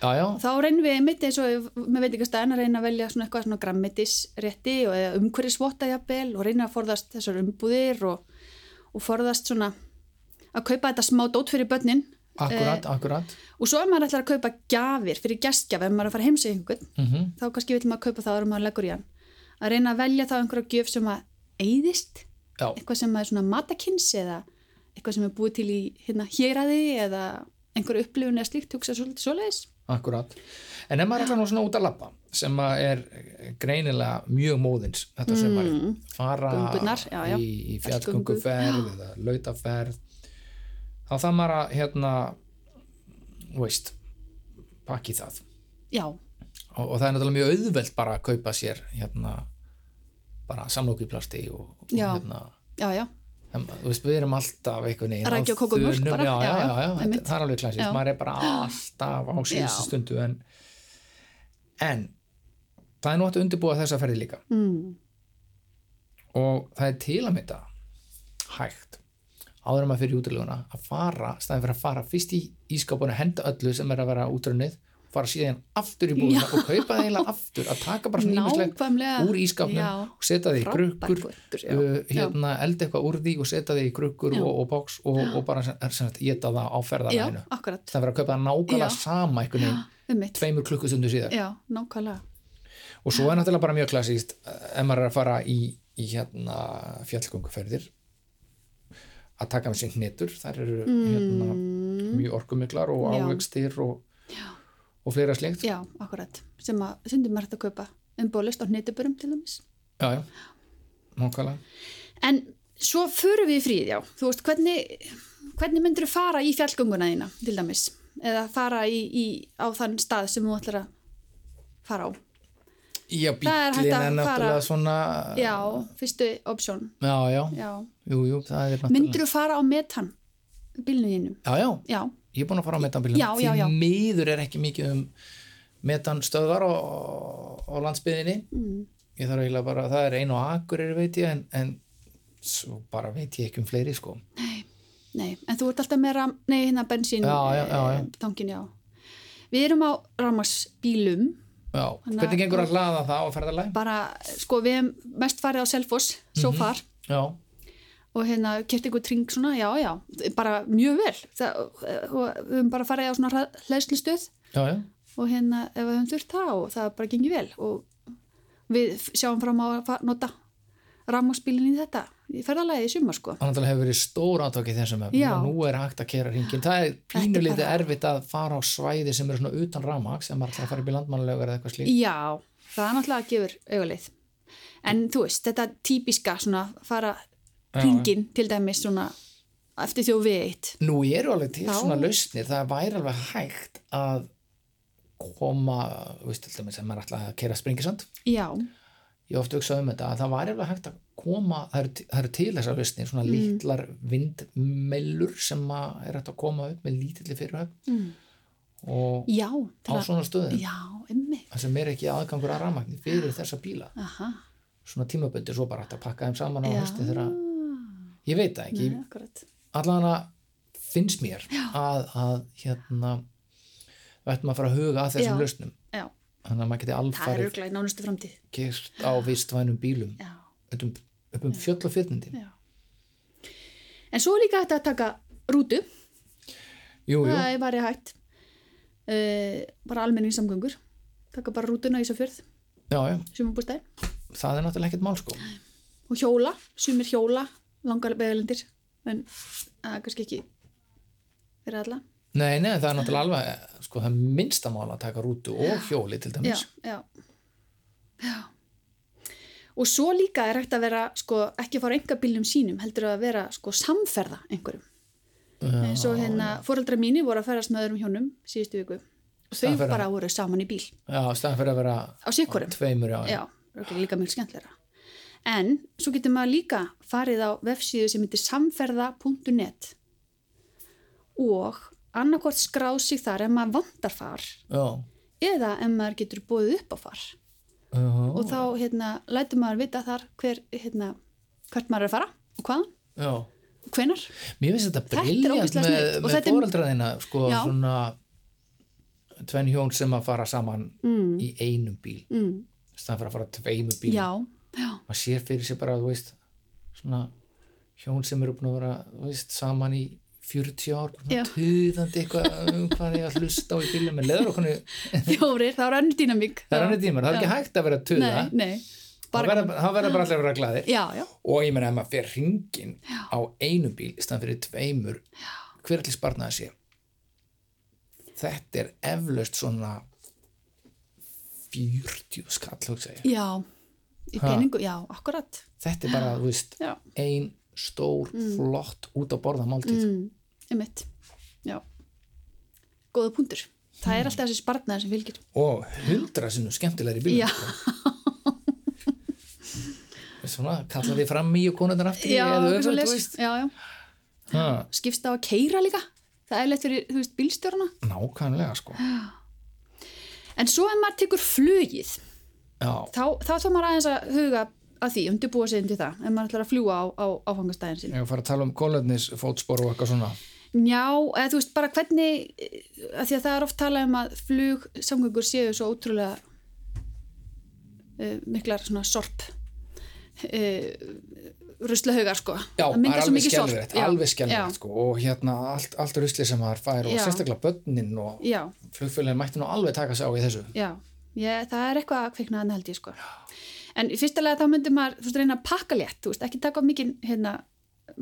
A: já, já,
B: þá reynum við mitt eins og með veitingastæðin að reyna að velja svona eitthvað svona grammetisrétti og eða umhverfisvotta jafnvel og reyna að forðast þessar umbúðir og, og forðast svona að kaupa þetta smá dót fyrir börnin
A: akkurat, akkurat,
B: og svo ef maður ætlar að kaupa gjafir fyrir gestgjaf ef maður er að fara heimsækja einhvern
A: mhm,
B: þá kannski vil maður kaupa það árum maður leggur í hann að reyna að velja þá einhverja gjöf sem að eyðist
A: já,
B: eitthvað sem er svona matakins eða eitthvað sem er búið til í hérna héræði eða einhverju upplifun eða slíkt hugsa svolítið svoleiðis
A: akkurat. En ef maður ætlar nú svona út að labba, sem að er greinilega mjög móðins þetta mm. sumari, fara
B: Göngurnar, já, já.
A: í, í
B: Fjallgöngu.
A: fjallgönguferð eða lautaferð, þá það maður að, hérna, þú veist, pakki það.
B: já,
A: Og, og það er náttúrulega mjög auðvelt bara að kaupa sér, hérna, bara samlókiplasti og, og
B: Já.
A: hérna,
B: já, já,
A: En, þú veist, við erum alltaf einhvern veginn á
B: Rækja og kók og mjólk
A: þönum,
B: bara,
A: já, já,
B: já,
A: já, já, þetta-
B: einmitt.
A: það er alveg klassist,
B: Já.
A: maður er bara alltaf á síðustu
B: Já.
A: stundu en, en það er nú að undirbúa þessa ferði líka
B: mm,
A: og það er til að mynda hægt áður en maður fyrir útileguna að fara, staðin fyrir að fara fyrst í ískápuna, henda öllu sem er að vera útrunnið fara síðan aftur í búðina og kaupa það eiginlega aftur, að taka bara svona ímislegt
B: nákvæmlega
A: úr ískápnum
B: já,
A: og setja það í
B: frábær
A: krukkur
B: köttur, já.
A: uh, hérna, elda eitthvað úr því og setja því í krukkur
B: Já.
A: og, og bóks og, og bara sem, sem sagt, geta það á
B: já,
A: ferðalæginu
B: akkurat
A: það verður að kaupa það nákvæmlega
B: Já.
A: sama einhvern veginn
B: um mitt,
A: tveimur klukkustundu síðar
B: já, nákvæmlega
A: og svo er náttúrulega bara mjög klassíst eh, ef maður er að fara í, í hérna fjallgönguferðir að taka með sér hnetur þar eru hérna,
B: Mm,
A: mjög orkumiklar og
B: Já.
A: ávöxtir og, og fleira slengt
B: já, akkurat, sem að sundum er hægt að kaupa umbólist á hnituburum til dæmis
A: já, já. nákvæmlega
B: en svo förum við í fríð, já þú veist, hvernig, hvernig myndir þú fara í fjallgönguna þína, til dæmis eða fara í, í, á þann stað sem þú ætlar að fara á
A: Já,
B: Það er hægt
A: bíllinn
B: að
A: er náttúrulega
B: fara-
A: svona
B: já, fyrstu option
A: já, já,
B: já.
A: jú, jú, það er náttúrulega
B: myndir þú fara á metan bílnu þínum,
A: Já, já,
B: já
A: ég er búin að fara á metanbílum
B: Já, já, já.
A: því miður er ekki mikið um metanstöðvar á, á landsbyðinni
B: mm.
A: ég þarf eiginlega bara, það er ein og akkur er veit ég en, en svo bara veit ég ekki um fleiri sko
B: nei, en þú ert alltaf með ram, nei, hérna
A: Já,
B: bensín
A: já, já, já.
B: eh, tankinn, já. við erum á ramarsbílum
A: já,
B: Þannig að-
A: hvernig gengur að hlaða það á ferðarlæg?
B: bara, sko, við hefum mest farið á Selfoss,
A: Mhm.
B: so far
A: Já,
B: og hérna, kert ykkur tring svona, já, já bara mjög vel það, eh, og við höfum bara farið á svona hlæðslistöð
A: já, já,
B: og hérna, ef við höfum þurft það og það bara gengið vel og við f- sjáum fram á að fa- nota ramarsbílinn í þetta í ferðalagið í sumar, sko
A: það náttúrulega hefur verið stór átak í þessum efnum
B: Já.
A: og nú er hægt að kera hringin það er pínulítið
B: bara-
A: erfitt að fara á svæði sem eru svona utan ramak sem maður ætlar að fara upp í landmannlega eða eitthvað slík
B: Já, það er náttúrulega að gefur augalið. En þú veist, þetta típiska svona fara
A: Já,
B: ringin til dæmis svona eftir þjó við eitt.
A: Nú eru alveg til
B: Já.
A: svona lausnir, það væri alveg hægt að koma, þú veist, til dæmis, sem maður ætlaði að kera springisand,
B: Já,
A: ég hef oft hugsað um þetta, að það væri alveg hægt að koma, það eru, það eru til þessar lausnir, svona
B: Mm.
A: litlar vindmellur sem að er hægt að koma upp með lítilli fyrirhöfn
B: Mm.
A: og
B: já.
A: á
B: til að-
A: svona stöðum,
B: Já, emmi.
A: það sem er ekki aðgangur að rafmagni fyrir þessa bíla,
B: Aha,
A: svona tímaböndir svo bara hægt að pakka þeim saman á
B: Já.
A: höstu þegar að, ég veit það ekki,
B: Nei, akkurat.
A: allan að finnst mér að, að hérna við ættum að fara að huga að þessum
B: Já.
A: lausnum
B: Já,
A: þannig að maður geti
B: það er
A: alfarið
B: örglega í nánustu framtíð.
A: gist á vistvænum bílum
B: Já,
A: upp um, upp um fjöll og fyrnindi
B: já. En svo er líka hægt að taka rútu,
A: jú, jú,
B: það er bara hægt. Uh, bara almenningssamgöngur, taka bara rútuna í Ísafjörð,
A: já, já,
B: sumarbústæðin.
A: það er náttúrulega ekkert mál sko
B: og hjóla, sumir hjóla langar vegalendir en það er kannski ekki fyrir alla
A: nei, nei, það er náttúrulega alveg sko, það er minnsta mál að taka rútu og hjóli til
B: já,
A: dæmis
B: já, já og svo líka er hægt að vera sko, ekki fara enga bílnum sínum heldur að vera sko, samferða einhverjum eins og hérna, fóreldra mínir voru að ferast með öðrum hjónum síðustu viku og þau
A: Samferða.
B: bara voru saman í bíl
A: já, staðan fyrir að vera
B: á sikkurum
A: tveimur, já, já.
B: Já, örugglega líka mjög skemmtilega. En svo getur maður líka farið á vefsíðu sem heitir samferða.net og annarkvort skráð sig þar ef maður vantar far
A: já.
B: eða ef maður getur búið upp á far
A: Uh,
B: og þá hérna, lætur maður vita þar hver, hérna, hvert maður er að fara og hvaðan
A: já.
B: og hvenar.
A: Mér finnst þetta
B: Þetta er
A: briljant
B: ógeðslega
A: með,
B: sniðugt og
A: með
B: þetta er-
A: foreldraðina sko,
B: Já.
A: svona tvenn hjón sem að fara saman
B: Mm,
A: í einum bíl
B: mm,
A: staðan fyrir að fara tveimu bíl
B: já, já,
A: maður sér fyrir sér bara, þú veist svona hjón sem eru búin að vera þú veist, saman í 40 ár
B: Já.
A: svona tuðandi eitthvað um hvað ég að hlusta á í bílum en leður okkur
B: fjórir, það er önnur dýnamík.
A: það er annir tímar, það er
B: Já.
A: ekki hægt að vera að tuða
B: Nei, nei,
A: það
B: bara,
A: verða það verða bara allir að vera glæðir
B: já, já,
A: og ég meina ef maður fer hringin á einum bíl í staðan fyrir tveimur hver allir sparnaði sé þetta er eflaust svona 40 skall hugsa ég.
B: já, í
A: Ha.
B: peningu, já, akkurat,
A: þetta er bara, þú veist,
B: já.
A: ein stór, flott út á borða máltíð
B: mm, einmitt já góða punktur, það
A: Mm.
B: er alltaf þessi spartnaður sem fylgir
A: og hundra sinnum skemmtilegri bíl
B: Já.
A: svona kallar við fram í og konundar aftur í
B: já,
A: eða
B: eitthvað
A: öfugt,
B: svoleiðis.
A: þú veist.
B: já, já.
A: Ha,
B: skipst á að keira líka það er leitt fyrir þú veist, bílstjórna
A: nákvæmlega sko
B: en svo ef maður tekur flugið
A: já,
B: þá, þá þá maður aðeins að huga að því, undirbúa sig undir það ef maður ætlar að fljúa á, á áfangastæðin
A: ég
B: sin
A: var að fara að tala um kólöfnis fótspor og eitthvað svona
B: já, eða þú veist bara hvernig eh, að því að það er oft talað um að flug samgöngur séu svo ótrúlega uh, miklar svona sorp uh, ruslahaugar sko
A: já,
B: Það
A: það er
B: myndast svo
A: alveg
B: mikið sorp.
A: skelverett,
B: Já,
A: alveg
B: já.
A: skelverett sko. og hérna allt, allt rusli sem maður fær og
B: Já.
A: sérstaklega börnin og
B: Já,
A: flugfélagin mætti nú alveg taka sig á í þessu
B: já, ég, það er eitthvað að kvikna þannig held ég sko. En í fyrsta lega þá myndi maður, þú veist, reyna að pakka létt, þú veist, ekki taka mikið, hérna,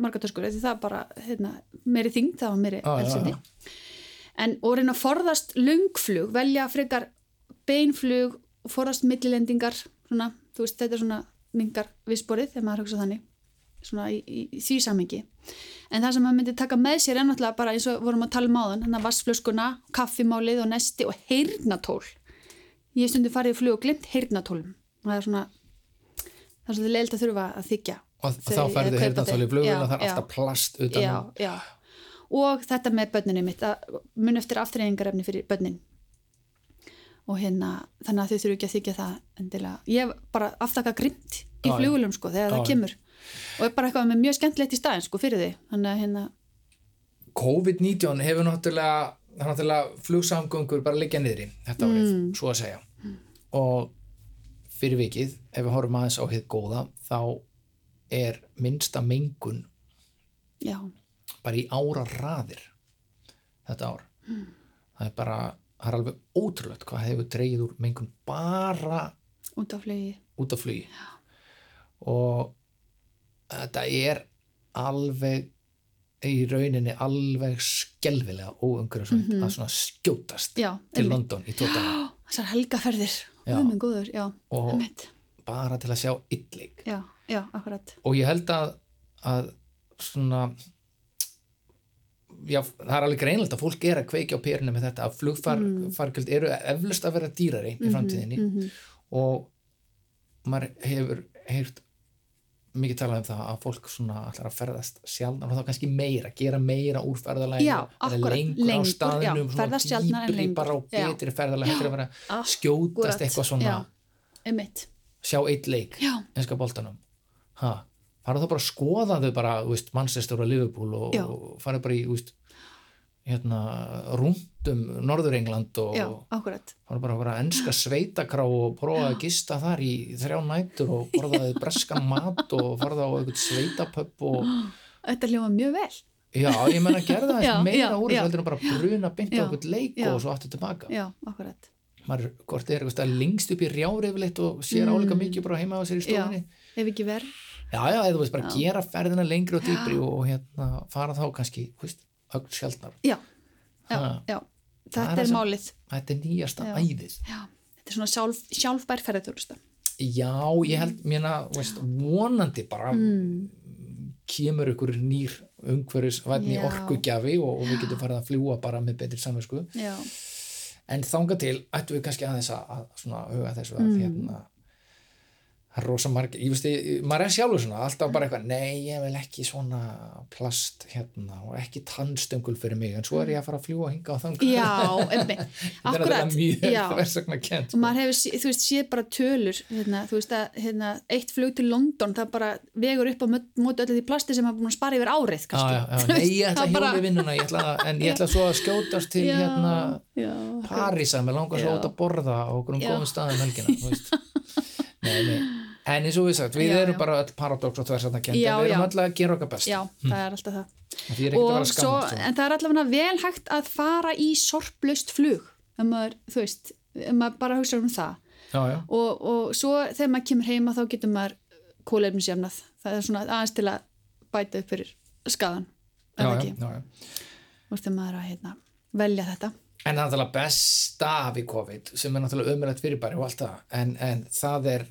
B: margatöskur, því það er bara, hérna, meiri þyngd, það var meiri
A: Já, já,
B: eldsindi. En og reyna að forðast lungflug, velja frekar beinflug, forðast millilendingar, svona, þú veist, þetta er svona mingar viðsporið, þegar maður hugsa þannig, svona í, í, í því samingi. En það sem maður myndi taka með sér er náttúrulega bara eins og vorum að tala um áðan, hann að vassflöskuna, kaffimálið og nesti og heyrnatól. Ég hef stundum farið í flug og glimt heyrnatólum. Það er svona, það er svolítið leilt að þurfa að þykja.
A: og
B: Þau-
A: þá færðu
B: eða kaupa
A: hérna þá í
B: þau.
A: flugvél
B: Já,
A: og það er
B: já.
A: alltaf plast utan
B: Já,
A: um-
B: já. Og þetta með börninu mitt, að mun eftir aftreyðingarefni fyrir börnin. Og hérna, þannig að þau þurfu ekki að þykja það endilega. Ég hef bara aftaka grimt í
A: Já, já.
B: flugulum sko þegar
A: Já,
B: það
A: já.
B: kemur. Og er bara eitthvað með mjög skemmtilegt í staðin sko fyrir því. Þannig að hérna,
A: COVID-19 hefur náttúrulega, það er náttúrulega flugsamgöngur bara liggja niðri þetta árið, svo að segja og fyrir vikið ef við horfum aðeins á hitt góða þá er minnsta mengun
B: já,
A: bara í ára raðir þetta ár það er bara, það er alveg ótrúlegt hvað hefur dreigið úr mengun bara
B: út á flugi.
A: út af flugi og þetta er alveg í rauninni alveg skelfilega óumhverfisvænt að svona skjótast
B: Mhm. Já,
A: til
B: einmitt.
A: London í tóttan
B: Þessar helgaferðir,
A: Já.
B: það er minn góður, já,
A: Og-
B: einmitt.
A: bara til að sjá yllik
B: Já, já, akkurat.
A: og ég held að, að svona já, það er alveg greinlegt að fólk er að kveikja á perinu með þetta að flugfargjöld eru eflust að vera dýrari í framtíðinni
B: Mm. mhm.
A: og maður hefur heyrt mikið talað um það að fólk svona ætlar að ferðast sjálfnar og þá kannski meira, gera meira úr ferðalæginu
B: Já, akkurat,
A: lengur, á
B: lengur, já,
A: staðnum,
B: ferðast sjaldnar en
A: dýpri
B: lengur,
A: bara á
B: já.
A: betri ferðalæg hættir að vera að
B: Akkurat,
A: skjótast eitthvað svona
B: já, einmitt.
A: sjá eitt leik
B: já,
A: enska boltanum ha, fara þá bara að skoða þau bara þú veist, Manchester og Liverpool og,
B: Já.
A: og fara bara í þú veist, hérna, rúmt um Norður-England og
B: já, akkurat
A: fara bara að vera enska sveitakrá og prófa að gista þar í þrjá nætur og borðaði breskan mat og farða á eitthvað sveitapöpp og
B: Þetta hljóma mjög vel
A: já, ég menna gerða það
B: Já,
A: já, meira
B: já,
A: úr
B: já.
A: þessu heldur en bara bruna beint á
B: Já,
A: eitthvað leik
B: já.
A: og svo aftur tilbaka
B: Já, akkurat
A: maður, hvort er eitthvað stað lengst upp í rjári yfirleitt og sér
B: Mm.
A: áleika mikið bara heima á sér í
B: Já,
A: stofunni
B: ef ekki verð
A: já, já, eða þú veist bara
B: Já.
A: gera ferðina lengri og
B: Já.
A: dýpri og, og hérna fara þá kannski, þú veist, ögn sjaldnar
B: Já, já,
A: Ha,
B: já
A: Það er
B: Þetta er
A: það sem-
B: málið
A: þetta er nýjasta
B: Já.
A: æðið
B: Já, þetta er svona sjálf, sjálfbær ferðarþjónusta
A: já, ég held, mérna, veist, vonandi bara
B: mm.
A: kemur ykkur nýr umhverfisvætni
B: Já.
A: orkugjafi og, og við getum farið að fljúa bara með betri samvisku
B: Já,
A: en þanga til ættum við kannski aðeins að, að svona huga þessu að
B: Mm.
A: hérna það er rosa margir, ég veist ég, maður er sjálfur svona alltaf bara eitthvað, nei ég vil ekki svona plast hérna og ekki tannstöngul fyrir mig, en svo er ég að fara að fljúa hinga og þanga,
B: já emmi
A: þetta er
B: Akkurat,
A: alveg mjög
B: já
A: þversakna kent
B: og maður hefur, sé- þú veist, séð bara tölur hérna, þú veist að hérna, eitt flug til London það bara vegur upp á mö- móti öllu því plasti sem maður búin að spara yfir árið
A: Já, já, já,
B: kannski.
A: nei, ég ætla að
B: Það bara-
A: hjóli vinnuna ég ætla að, en ég ætla svo að skjótast til
B: Já,
A: hérna
B: já,
A: Parísa, mér langar svo
B: Já.
A: út að borða á okkur um
B: Já.
A: góðum staðum helgina þú veist. nei, nei. en eins og við sagt við
B: Já,
A: erum
B: já.
A: bara öll paradox og tversatna kent
B: Já,
A: en við erum
B: já.
A: öll að gera okkar best
B: já, það er alltaf það
A: því er ekkert að vera
B: og
A: að
B: svo,
A: skammast um.
B: en það er allavega vel hægt að fara í sorplaust flug ef maður, þú veist, ef maður bara hugsa um það
A: já, já.
B: og, og svo þegar maður kemur heima þá getur maður kólefnisjafnað það er svona aðeins til að bæta upp fyrir skadan, er
A: Já,
B: það
A: já,
B: ekki
A: já, já.
B: og þegar maður er að hérna, velja þetta
A: en það er náttúrulega besta við COVID sem er náttúrulega ömurlegt fyrirbæri og allt það en, en það er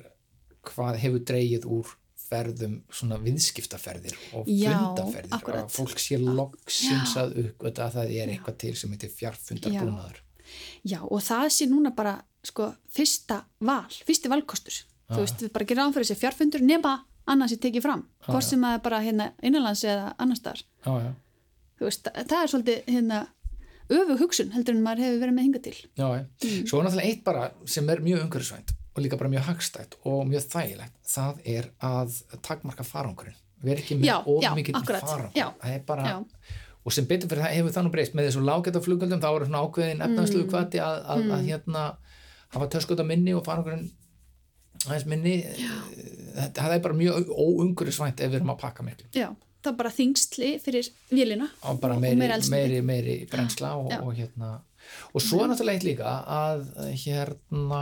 A: hvað hefur dreigið úr ferðum svona viðskiptaferðir og
B: Já,
A: fundaferðir
B: akkurat.
A: að fólk sé loksins að uppgöta að það er eitthvað til sem heitir fjarfundarbúnaður
B: Já, og það sé núna bara sko, fyrsta val, fyrsti valkostur. Þú veist, við bara gerum án fyrir þessi fjárfundur nema annars ég tekið fram.
A: Já,
B: Hvort
A: já.
B: sem það er bara hérna innanlands eða annars þar.
A: já, já,
B: Þú veist, það það er svolítið hérna öfu hugsun heldur en maður hefur verið með hinga til.
A: Já, já.
B: Mm.
A: svo er náttúrulega eitt bara sem er mjög umhverfisvænt og líka bara mjög hagstætt og mjög þægilegt, það er að takmarka farangurinn, við erum ekki með
B: Já,
A: of
B: já,
A: mikið
B: akkurat.
A: farangur
B: Já,
A: það er bara,
B: já.
A: og sem betur fyrir það hefur þannig breyst, með þessum lágæta flugöldum þá eru svona ákveðin efnaðslu mm. kvati að, að, að hérna hafa töskut að minni og farangurinn aðeins minni þetta, það er bara mjög óumhverfisvænt ef við erum að pakka miklu
B: Já, það er bara þingsli fyrir vélina.
A: og bara
B: og
A: meiri,
B: meira
A: meiri,
B: eldsneyti.
A: meiri, brennsla og,
B: Já.
A: og hérna og svo er náttúrulega eitt líka að hérna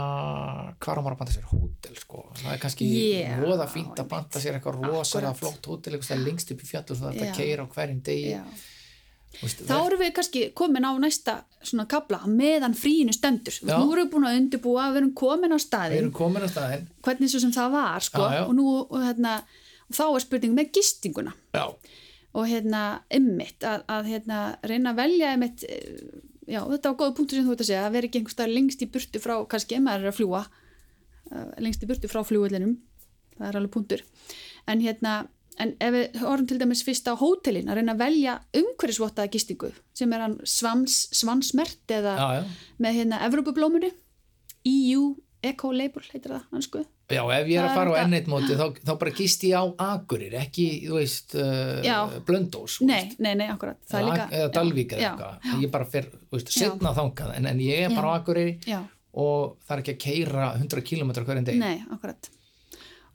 A: hvar á maður að banta sér hótel sko, það er kannski
B: Já,
A: voða fínt að banta sér eitthvað rosalega
B: Akkúrat.
A: flott hótel eitthvað það er lengst upp í fjallur það er
B: Já.
A: að keira á hverjum degi
B: Já.
A: Þú veist,
B: Þá erum við kannski komin á næsta svona kabla meðan fríinu stendur.
A: Já.
B: Þú veist, Nú erum við búin að undirbúa, við erum komin á
A: við
B: staðin,
A: erum komin á staðinn
B: hvernig svo sem það var, sko.
A: Já, já.
B: Og, nú, og, hérna, og þá er spurning með gistinguna.
A: já,
B: og hérna ymmit að, að hérna reyna að velja ymmit já þetta var góða punktur sem þú ert að segja að vera ekki einhvers staðar lengst í burtu frá kannski ef maður er að fljúa uh, lengst í burtu frá fljóðlinum það er alveg punktur en hérna en ef við horfum til dæmis fyrst á hótelin að reyna að velja umhverfisvottaða gistingu sem er hann svans, svansmert eða
A: já, já,
B: með hérna Evrópublómunni EU Eco Label heitir það hansku
A: já, ef ég er
B: Það er
A: að fara á
B: þetta-
A: enneitt móti þá, þá bara gist ég á Akurir ekki, þú veist,
B: Já.
A: uh, Blöndós þú
B: nei,
A: veist.
B: nei, nei, akkurat það er
A: eða,
B: líka
A: eða Dalvík eða
B: já,
A: eitthvað ég bara fer, þú veist,
B: Já.
A: setna þangað en, en ég er bara á Akureyri
B: já,
A: og það er ekki að keira 100 km hverjum degi
B: Nei, akkurat.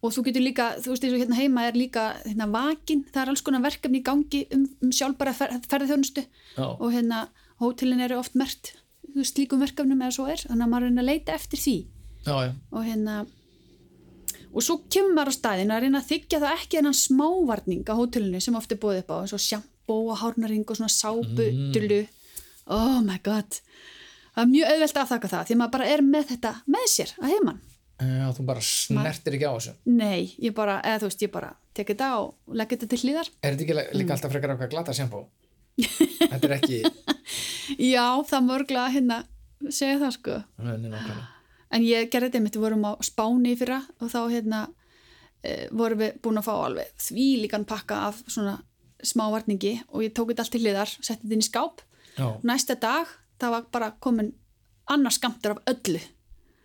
B: Og þú getur líka, þú veist eins og hérna heima er líka hérna vakin, það er alls konar verkefni í gangi um, um sjálfbara fer, ferðarþjónustu
A: Já.
B: og hérna hótelin eru oft mert þú veist líkum verkefnum eða svo er, þannig að maður er að leita eftir því
A: já, já,
B: og hérna og svo kemur maður á staðin að reyna að þykja það ekki þennan smávarning á hótelinu sem oft er búið upp á eins og sjampó og hárnaring og svona sápudulu oh my god það er mjög auðvelt að þakka það því maður bara er með þetta með sér að heiman
A: já, þú bara snertir ekki á þessu
B: Nei, ég bara, eða þú veist, ég bara tek þetta og legg þetta til hliðar.
A: er þetta ekki le-
B: Mm.
A: líka alltaf frekar okkar glata sjampó þetta er ekki
B: Já, það mörgla hérna segja það sko.
A: Nei, nei, nákvæmlega.
B: En ég gerði þetta mitt, við vorum á Spáni í fyrra og þá hérna e, vorum við búin að fá alveg því líkan pakka af svona smávarningi og ég tók þetta allt til hliðar, setti þetta inn í skáp.
A: já,
B: Næsta dag, það var bara komin annars skamtur af öllu.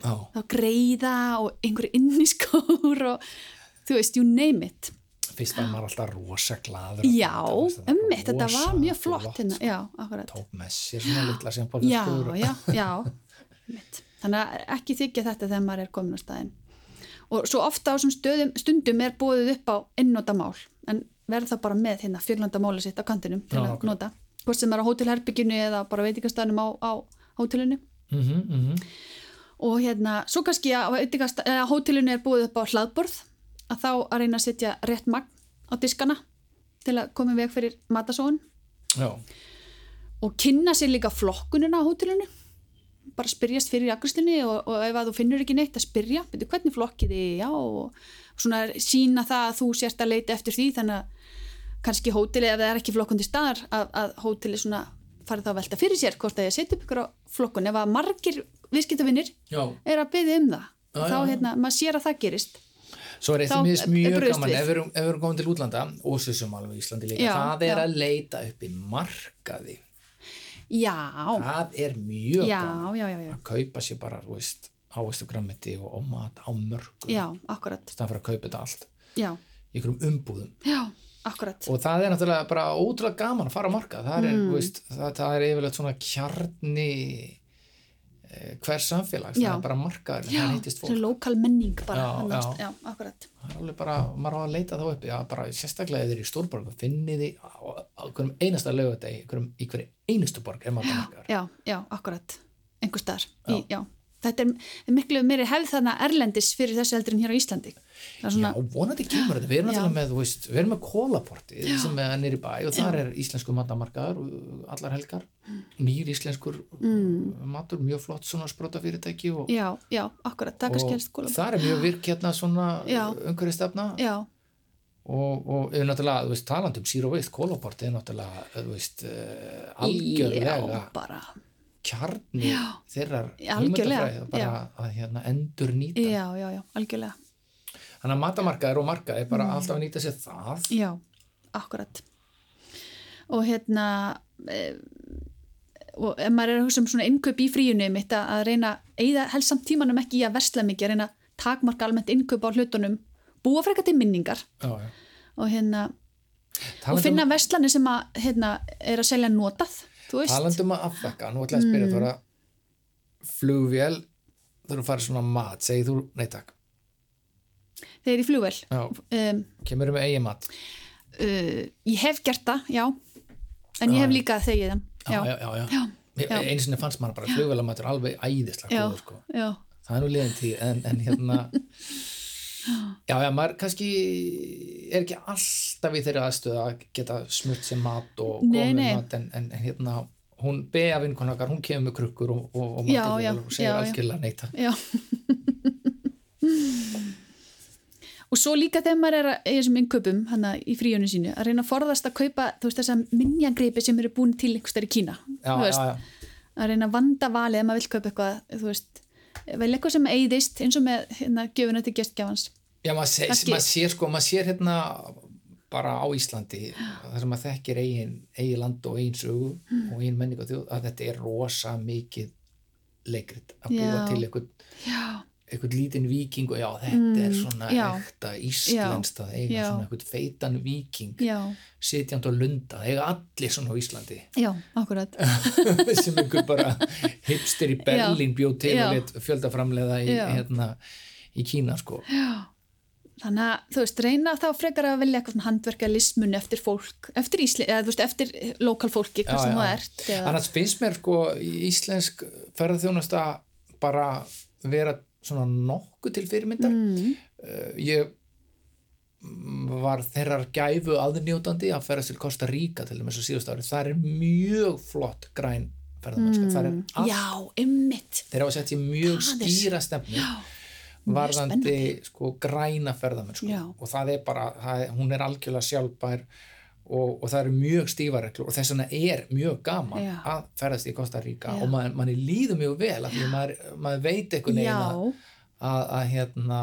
A: Já,
B: þá greiða og einhverju inniskór og þú veist, you name it
A: fyrst var maður alltaf rosa glaður.
B: já, ummitt, þetta var mjög flott, hérna, já, akkurat
A: Tók með sér svona litla sem bara
B: já, já, já einmitt. þannig að ekki þykja þetta þegar maður er komin á staðin og svo ofta á þessum stöðum, stundum er búið upp á innnótamál en verð þá bara með hérna fjöllandamáli sitt á kantinum til
A: Já,
B: að
A: ok.
B: nota hvort sem er á hótelherbygginu eða bara veitingastaðnum á, á hótelinu
A: Mm -hmm, mm
B: og hérna, svo kannski að veitingast- eða hótelinu er búið upp á hlaðborð að þá að reyna að setja rétt magn á diskana til að koma í veg fyrir matasóun
A: Já,
B: og kynna sér líka flokkunina á hótelinu bara spyrjast fyrir í akkrislinni og, og ef að þú finnur ekki neitt að spyrja byrju, hvernig flokkið þið, já og svona sína það að þú sért að leita eftir því þannig að kannski hóteli ef það er ekki flokkundi staðar að, að hóteli svona farið þá að velta fyrir sér hvort að ég setja upp ykkur á flokkun ef að margir viðskiptavinir
A: já.
B: er að byggja um það
A: Já,
B: þá
A: já, já.
B: hérna, maður sér að það gerist
A: Svo er eitt
B: Þá
A: sem miðist
B: er- er
A: mjög
B: brugðist
A: gaman
B: við.
A: ef við erum, ef við erum komin til útlanda og svo sem alveg í Íslandi líka
B: Já,
A: það er
B: já.
A: að leita upp í markaði
B: já,
A: það er mjög
B: já,
A: gaman
B: já, já, já,
A: að kaupa sér bara þú veist, ávistu grammiti og, og mat á mörgu
B: já akkurat,
A: það fyrir að kaupa þetta allt
B: já,
A: í einhverjum umbúðum
B: já, akkurat
A: og það er náttúrulega bara ótrúlega gaman að fara á markað það er, mm. veist, það, það er yfirlega svona kjarni eh, hvers samfélags
B: Já.
A: það er bara markaður,
B: já,
A: það hittist fólk
B: þessi lokal menning
A: Já,
B: bara, já,
A: já.
B: já, akkurat
A: það er alveg bara, maður á að leita þá uppi að bara sérstaklega ef þið er í stórborg og finni því á, á hverjum einasta lögadegi hverjum, í hverju einustu borg er maður markaður
B: já, já, akkurat, einhver staðar
A: Já.
B: í, já, þetta er, er miklu meiri hefð þarna erlendis fyrir þessu heldur en hér á Íslandi það er
A: Já,
B: svona,
A: vonandi kemur þetta, við erum
B: Já.
A: náttúrulega með, þú veist, við erum með kólaporti sem er nýri bæ og þar er íslensku matamarkaður, uh, allar helgar,
B: Mm.
A: nýr íslenskur mm. matur, mjög flott svona sprota fyrirtæki og,
B: já, já, akkurat það er kannski helst
A: og
B: skóla
A: þar er mjög virk hérna svona
B: Já.
A: umhverjastefna
B: já,
A: og, og er náttúrulega, þú veist, um talandum síru og veist, kólaporti er náttúrulega, þú veist, uh, algjörlega
B: já, bara
A: kjarni
B: Já.
A: þeirrar
B: Algjörlega,
A: hugmyndafræði og bara að hérna, endur nýta
B: já, já, já, algjörlega
A: þannig að matamarkaður og markaður
B: Mm.
A: bara alltaf að nýta sér það
B: Já, akkurat og hérna e, og ef maður er að hugsa um svona innkaup í fríunum mitt að, að reyna eða helst samt tímanum ekki í að versla mikið að reyna að takmarka almennt innkaup á hlutunum búa frekar til minningar
A: já, já.
B: og hérna og
A: Talandi um-
B: finna verslani sem að hérna, er að selja notað þú veist, Mm.
A: talandum um að afþakka, nú ætla ég að spyrja þú er að flugvél þú erum farið svona mat, segir þú nei takk,
B: þegar í flugvel
A: já,
B: um,
A: kemur með eigin mat
B: uh, ég hef gert það, já en
A: Já,
B: ég
A: já.
B: hef líka þegið þeim
A: já, já,
B: já,
A: já, já.
B: já,
A: Ég-
B: já.
A: einu sinni fannst maður bara flugvélamatur alveg æðislega
B: já,
A: góður sko,
B: já,
A: það er nú liðin tíð en, en hérna já, já, maður kannski er ekki alltaf í þeirri aðstöð að geta smurt sér mat og
B: Nei,
A: komið
B: nei.
A: mat en, en, en hérna hún beða vinkona okkar, hún kemur með krukkur og, og, og
B: Já,
A: matarvél
B: já,
A: og segir
B: já, já.
A: algjörlega nei takk
B: Já. og svo líka þegar maður er að, í þessum innkaupum hana, í fríunum sínu að reyna að forðast að kaupa þú veist, þessa minnjagreipi sem eru búin til einhvers þar í Kína
A: já,
B: Þú
A: já,
B: veist,
A: já,
B: að reyna að vanda valið ef maður vill kaupa eitthvað þú veist, vel eitthvað sem eyðist eins og með hérna, gefuna til gestgjafans
A: Já, maður sé,
B: Kannski-
A: mað sér sko, maður sér hérna bara á Íslandi þar sem maður þekkir eigin, eigin land og eigin sögu
B: Mm.
A: og eigin menning og þjóð að þetta er rosa mikið leikrit að búa
B: Já.
A: til einhvern,
B: já,
A: einhvern lítinn viking og já, þetta er svona
B: Mm, já.
A: ekta íslenskt að eiga
B: Já.
A: svona einhvern feitan viking
B: já,
A: sitjandi og lunda, það eiga allir svona á Íslandi
B: já, akkurat
A: sem einhver bara hipster í Berlín bjóð til
B: Já.
A: og lit fjöldaframlega í,
B: Já.
A: hérna, í Kína sko
B: þannig að þú veist, reyna þá frekar að velja eitthvað handverka lismun eftir fólk eftir Ísli, eða þú veist, eftir lokalfólki hvað
A: Já,
B: sem
A: já.
B: það ert eða,
A: annars finnst mér sko íslensk ferðarþjónasta bara vera svona nokkuð til fyrirmyndar mm. ég mm, var þeirrar gæfu aðnjótandi að ferðast til Costa Rica til þess að síðust ári, það er mjög flott græn ferðarmennska, það er allt
B: Mm. já, ymmit
A: þeir hafa sett sér mjög
B: Það er-
A: skýra stefnu varðandi sko græna ferðamennsku
B: Já.
A: og það er bara, það er, hún er algjörlega sjálfbær og, og það eru mjög stífa reglur og þess vegna er mjög gaman
B: Já.
A: að ferðast í Costa Rica
B: Já.
A: og maður, maður líður mjög vel af því að maður, maður veit einhvern veginn að,
B: já,
A: að, að hérna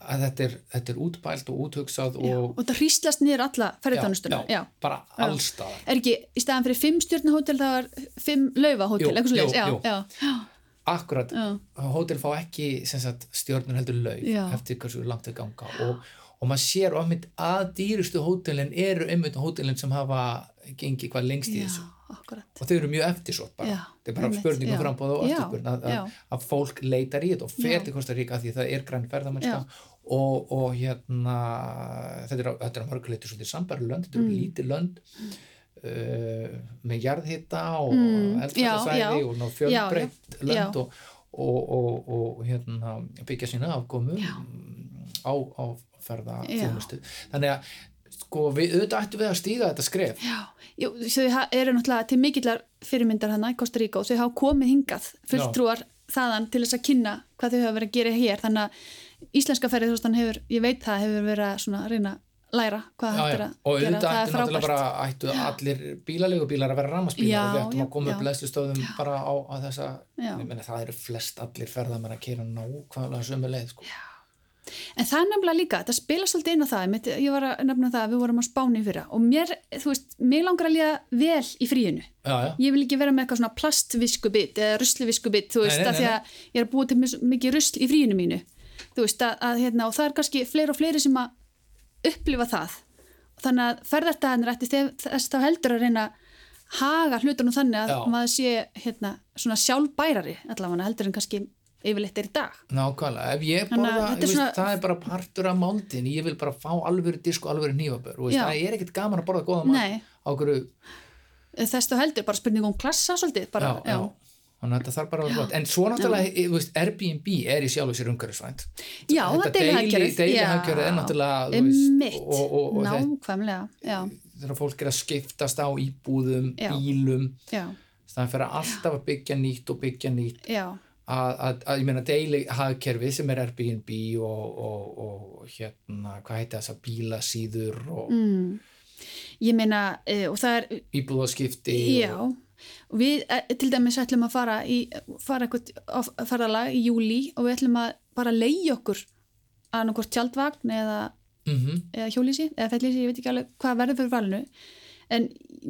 A: að þetta er, þetta er útpælt og úthugsað
B: já,
A: og
B: og það hrýstlast niður alla ferðarþjónustuna
A: já,
B: já.
A: bara allstaðar
B: er ekki, í staðan fyrir fimm stjórna hótel þá er fimm laufa
A: Jú,
B: hótel, eitthvað svo
A: jú, jú.
B: já, já,
A: akkurat,
B: já,
A: hótel fá ekki sem sagt, stjórnur heldur laug
B: Já.
A: eftir hversu langt þau ganga og, og maður sér ofmynd að dýrustu hótelin eru einmitt hótelin sem hafa gengið hvað lengst í
B: já,
A: þessu
B: akkurat
A: og þau eru mjög eftirsótt bara
B: Já,
A: það er bara
B: einmitt,
A: spurning
B: já.
A: um frambóð og
B: Já,
A: eftirspurn að,
B: já.
A: að, að fólk leitar í þetta og fer
B: Já.
A: til Kosta Ríka því það er græn ferðamennska og, og hérna þetta er, á- þetta er að mörguleitur svolítið sambæri lönd þetta eru
B: Mm.
A: lítið lönd uh, með jarðhita og
B: Mm,
A: mm.
B: já, já.
A: eldfæðasæði og ná fjölbreytt
B: já.
A: lönd og, og, og, og hérna, byggja sína afkomu
B: Já.
A: á, á ferða
B: Já.
A: þjónustu þannig að sko við auðvitað ættum við að stíga þetta skref
B: já, já, þau ha- eru náttúrulega til mikillar fyrirmyndar hana í Costa Rica og þau hafa komið hingað fulltrúar þaðan til þess að kynna hvað þau hafa verið að gera hér þannig að íslenska ferðarþjónustan hefur, ég veit það hefur verið að svona reyna að læra hvað
A: Já,
B: hægt er
A: já,
B: að
A: og auðvitað
B: gera, það
A: ættu
B: er
A: náttúrulega
B: frábært
A: bara ættu allir bílaleigubílar að vera rammarsbílar
B: Já,
A: og við ættum
B: já,
A: að koma upp
B: já.
A: leðslustöðum bara á, á þessa
B: Já.
A: ég meina það eru flest allir ferðamenn að kera nákvæmlega sömu leið sko.
B: En það er nefnilega líka, þetta spilast svolítið inn á það, einmitt, ég var að nefna það að við vorum á spáni í fyrra og mér, þú veist, mér langar að líða vel í fríinu.
A: já, já,
B: Ég vil ekki vera með eitthvað svona plastviskubit eða rusliviskubit, þú
A: Nei,
B: veist,
A: nei,
B: af því
A: nei,
B: að ég er að búa til mis- mikið rusl í fríinu mínu, þú veist, að, að hérna, og það er kannski fleiri og fleiri sem að upplifa það. Þannig að ferðartæðanir ætti þe- þess þá heldur að reyna að haga hlutunum þannig að
A: Já.
B: maður sé, hérna, svona sjálfbærari allavega heldur en kannski yfirleitt er í dag.
A: nákvæmlega ef ég
B: Þannig að
A: borða, ég
B: þetta er
A: veist,
B: svona-
A: það er bara partur af máldin ég vil bara fá alvöru disk og alvöru nýfabör veist,
B: Já.
A: það er ekkert gaman að borða góða
B: Nei.
A: mat á hverju,
B: Eh, þess þú heldur, bara spurning um klassa svolítið, bara,
A: já, já, þannig að þetta þarf bara að vera gott en svo náttúrulega, ég- þú veist, Airbnb er í sjálf og sér umhverfisvænt
B: Já, það
A: þetta
B: deilihagkerfið, já.
A: deilihagkerfið er náttúrulega þú
B: Emmitt,
A: og, og, og, og
B: nákvæmlega, já,
A: þegar fólk er að skiptast á íbúðum,
B: Já.
A: bílum
B: já,
A: það er fyrir alltaf að byggja nýtt og byggja nýtt
B: já,
A: að, að, að ég meina deili hagkerfi sem er Airbnb og, og, og hérna, hvað heita þessa bílasíður og
B: mm. ég meina, eh, og það er,
A: íbúðaskipti
B: já,
A: og,
B: og við eh, til dæmis ætlum að fara í, fara eitthvað á f- ferðalag í júli og við ætlum að bara leiði okkur að nokkur tjaldvagn eða,
A: mm
B: eða hjólísi, eða fellísi, ég veit ekki alveg hvað verður fyrir valinu, en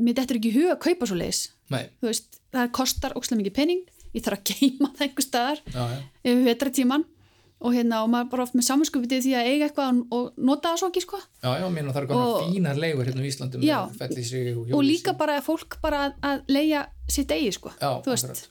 B: mér dettur ekki í hug að kaupa svo leiðis,
A: nei,
B: þú veist, það kostar ókslega mikið pening, ég þarf að geima það einhver staðar,
A: já, já,
B: yfir vetratíman og hérna og maður bara oft með samanskupið því að eiga eitthvað og- og nota það svo ekki sko
A: já, já, mér það er konar
B: Og-
A: fínar leigur hérna á Íslandum
B: Já.
A: sig, og,
B: og
A: hjólhýsi.
B: líka bara að fólk bara að, að leia sitt eigi sko
A: Já,
B: þú veist
A: akkurat.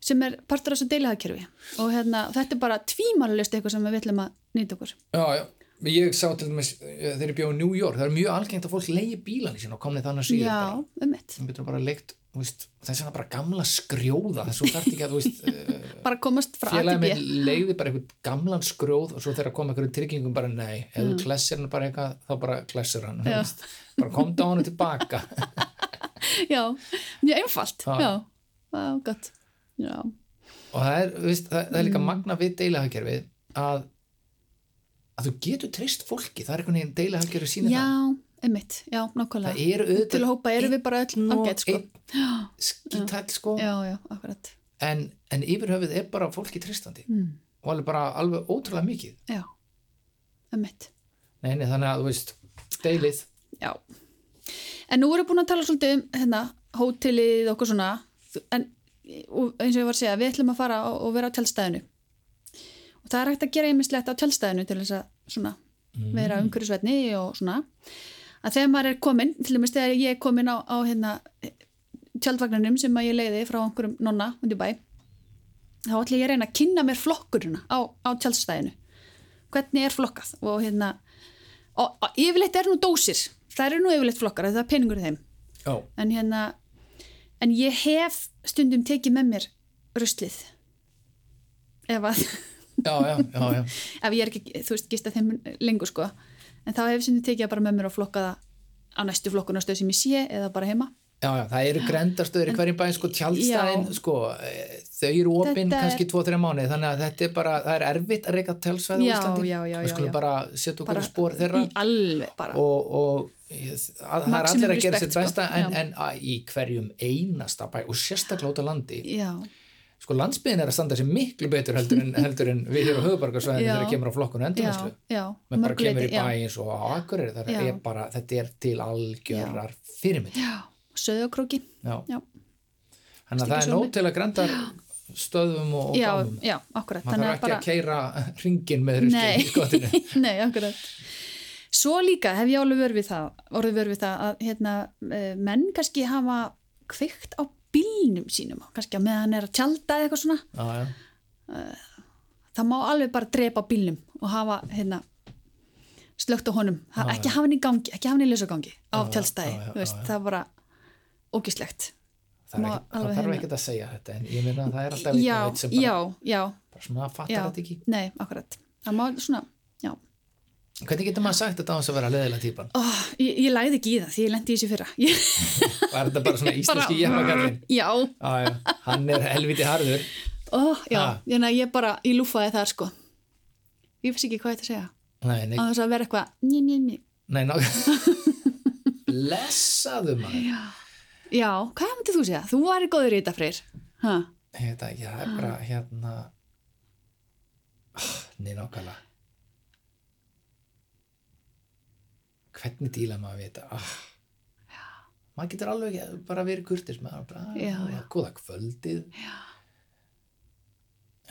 B: sem er partur af þessu deilihagkerfi og hérna þetta er bara tvímalust eitthvað sem við ætlum að nýta okkur
A: já, já, ég sá til dæmis eh, þegar ég bjóð í New York, það er mjög algengt að fólk leigi bílan í sín og komni þannig síður bara.
B: já, um mitt,
A: sem getur bara leikt þú veist, þess vegna bara gamla skrjóða þess að þú þarft ekki að þú veist, eh,
B: bara komast frá
A: félagið
B: ATB
A: minn leiði bara einhvern gamlan skrjóð og svo þegar kom einhverjum tryggingum bara nei, ef þú klessir hann bara eitthvað þá bara klessir hann þú
B: Mm. Já.
A: veist. bara komdu á hann tilbaka
B: já, mjög einfalt
A: Já.
B: já, já, gott já,
A: og það er, þú veist, það, það er
B: Mm.
A: líka magna við deilahagkerfið að að þú getur treyst fólki það er einhvern veginn deilahagkerfið sína
B: já
A: það
B: um mitt, já, nákvæmlega
A: það eru
B: til að
A: auðvitað
B: hópa erum við bara öll
A: og
B: ágætt sko
A: einn skítall sko
B: já, já, akkurat
A: en, en yfir höfuð er bara fólki treystandi
B: mm.
A: og alveg bara alveg ótrúlega mikið
B: já, um mitt
A: nei, nei, þannig að þú veist, deilið
B: Já. En nú erum við búin að tala svolítið um hérna, hótelið og okkur svona en og eins og ég var að segja, við ætlum að fara og, og vera á tjálstæðinu. Og það er hægt að gera einmislegt á tjálstæðinu til þess að svona vera umhverjusvetni og svona. Að þegar maður er komin, til dæmis þegar ég er komin á, á hérna tjaldvagnarnum sem að ég leiði frá einhverjum nonna undir bæ, þá ætlum ég að reyna að kynna mér flokkurina á, á tjaldstæðinu. Hvernig er flokkað og hérna og, og yfirleitt er nú dósir það eru nú yfirleitt flokkar, það er peningur í þeim
A: já,
B: en hérna en ég hef stundum tekið með mér ruslið ef að,
A: já, já, já, já.
B: ef ég er ekki þú veist, gista þeim lengur sko en þá hef ég stundum tekið það bara með mér og flokkað það á næstu flokkunarstöð sem ég sé eða bara heima
A: Já, já, það eru grendastöður í hverjum bæinn, sko, tjálstæðin,
B: Já.
A: sko, eh, þau eru opinn
B: Þetta er-
A: kannski 2-3 mánuði, þannig að þetta er bara, það er erfitt að reyka tjálsvæði
B: Já,
A: á Íslandi.
B: já, já,
A: Við
B: já, já.
A: skulum bara setja okkur
B: bara
A: í spór þeirra
B: í alveg bara
A: og, og eh, að, það er
B: Maximum
A: allir að gera
B: respect,
A: sitt besta,
B: sko.
A: en,
B: Já.
A: en að, í hverjum einasta bæ og sérstaklega út á landi.
B: já,
A: Sko, landsbyðin er að standa sér miklu betur heldur en, heldur en við hér á höfubarkarsvæðinu
B: Já.
A: þegar kemur á flokkun og
B: já,
A: endurvæslu.
B: já
A: Menn bara
B: mörgu
A: kemur í
B: leyti, já.
A: bæ eins og á Akureyri, það
B: Já.
A: er bara, þetta er til algjörar fyrirmynd.
B: já, söðakróki
A: Já.
B: já,
A: Þannig að
B: Stígur
A: það er
B: sjónarmið.
A: nóg til að grendar stöðum og, og
B: já,
A: gámum.
B: já, akkurat
A: Maður þarf
B: að
A: ekki að keira ringin með ruslið í skottinu.
B: Nei, nei, akkurat. Svo líka hef ég alveg verið við það, orðið verið við það að hérna, eh, menn kannski hafa kveikt á bílnum sínum, kannski að meðan hann er að tjálta eða eitthvað svona,
A: Já, já.
B: það má alveg bara drepa bílnum og hafa hérna, slögt á honum, ha,
A: Já,
B: ekki
A: já.
B: hafa hann í gangi, ekki hafa hann í lesagangi á
A: Já, já,
B: tjálstæði,
A: já, já,
B: þú veist,
A: já, já.
B: það er bara ógislegt.
A: Það,
B: Má
A: er ekki,
B: alveg
A: það þarf
B: hérna.
A: ekkert að segja þetta en ég meina að það er alltaf einhvern
B: Já,
A: veginn sem bara,
B: já, já,
A: bara svona "Ah, fattar
B: já,
A: þetta ekki.
B: nei, akkurat, það má svona, já.
A: Hvernig getur maður sagt þetta á þess að vera leðilega típan?
B: Ó, ég, ég læði ekki í það því ég lendi í þessu fyrra. Ég,
A: Var þetta bara svona íslenski jæfnakallin?
B: já,
A: Já, já, hann er helviti harður.
B: Oh, já,
A: Ha.
B: ég, na, ég bara, ég lúfaði þar sko Ég finnst ekki hvað ég ætti að segja
A: Nei, nei,
B: á þess að vera eitthvað njö, njö, njö.
A: nei, ná... Blessaðu maður.
B: Já, hvað myndið þú segja? Þú væri góður í þetta freyr ha.
A: Þetta, já, það er bara hérna... Ah, Nei, nákvæmlega. Hvernig díla maður við þetta? Ah. Maður getur alveg ekki- bara verið kurtis maður. Bara, ah,
B: Já,
A: já.
B: já.
A: Góða kvöldið. Já.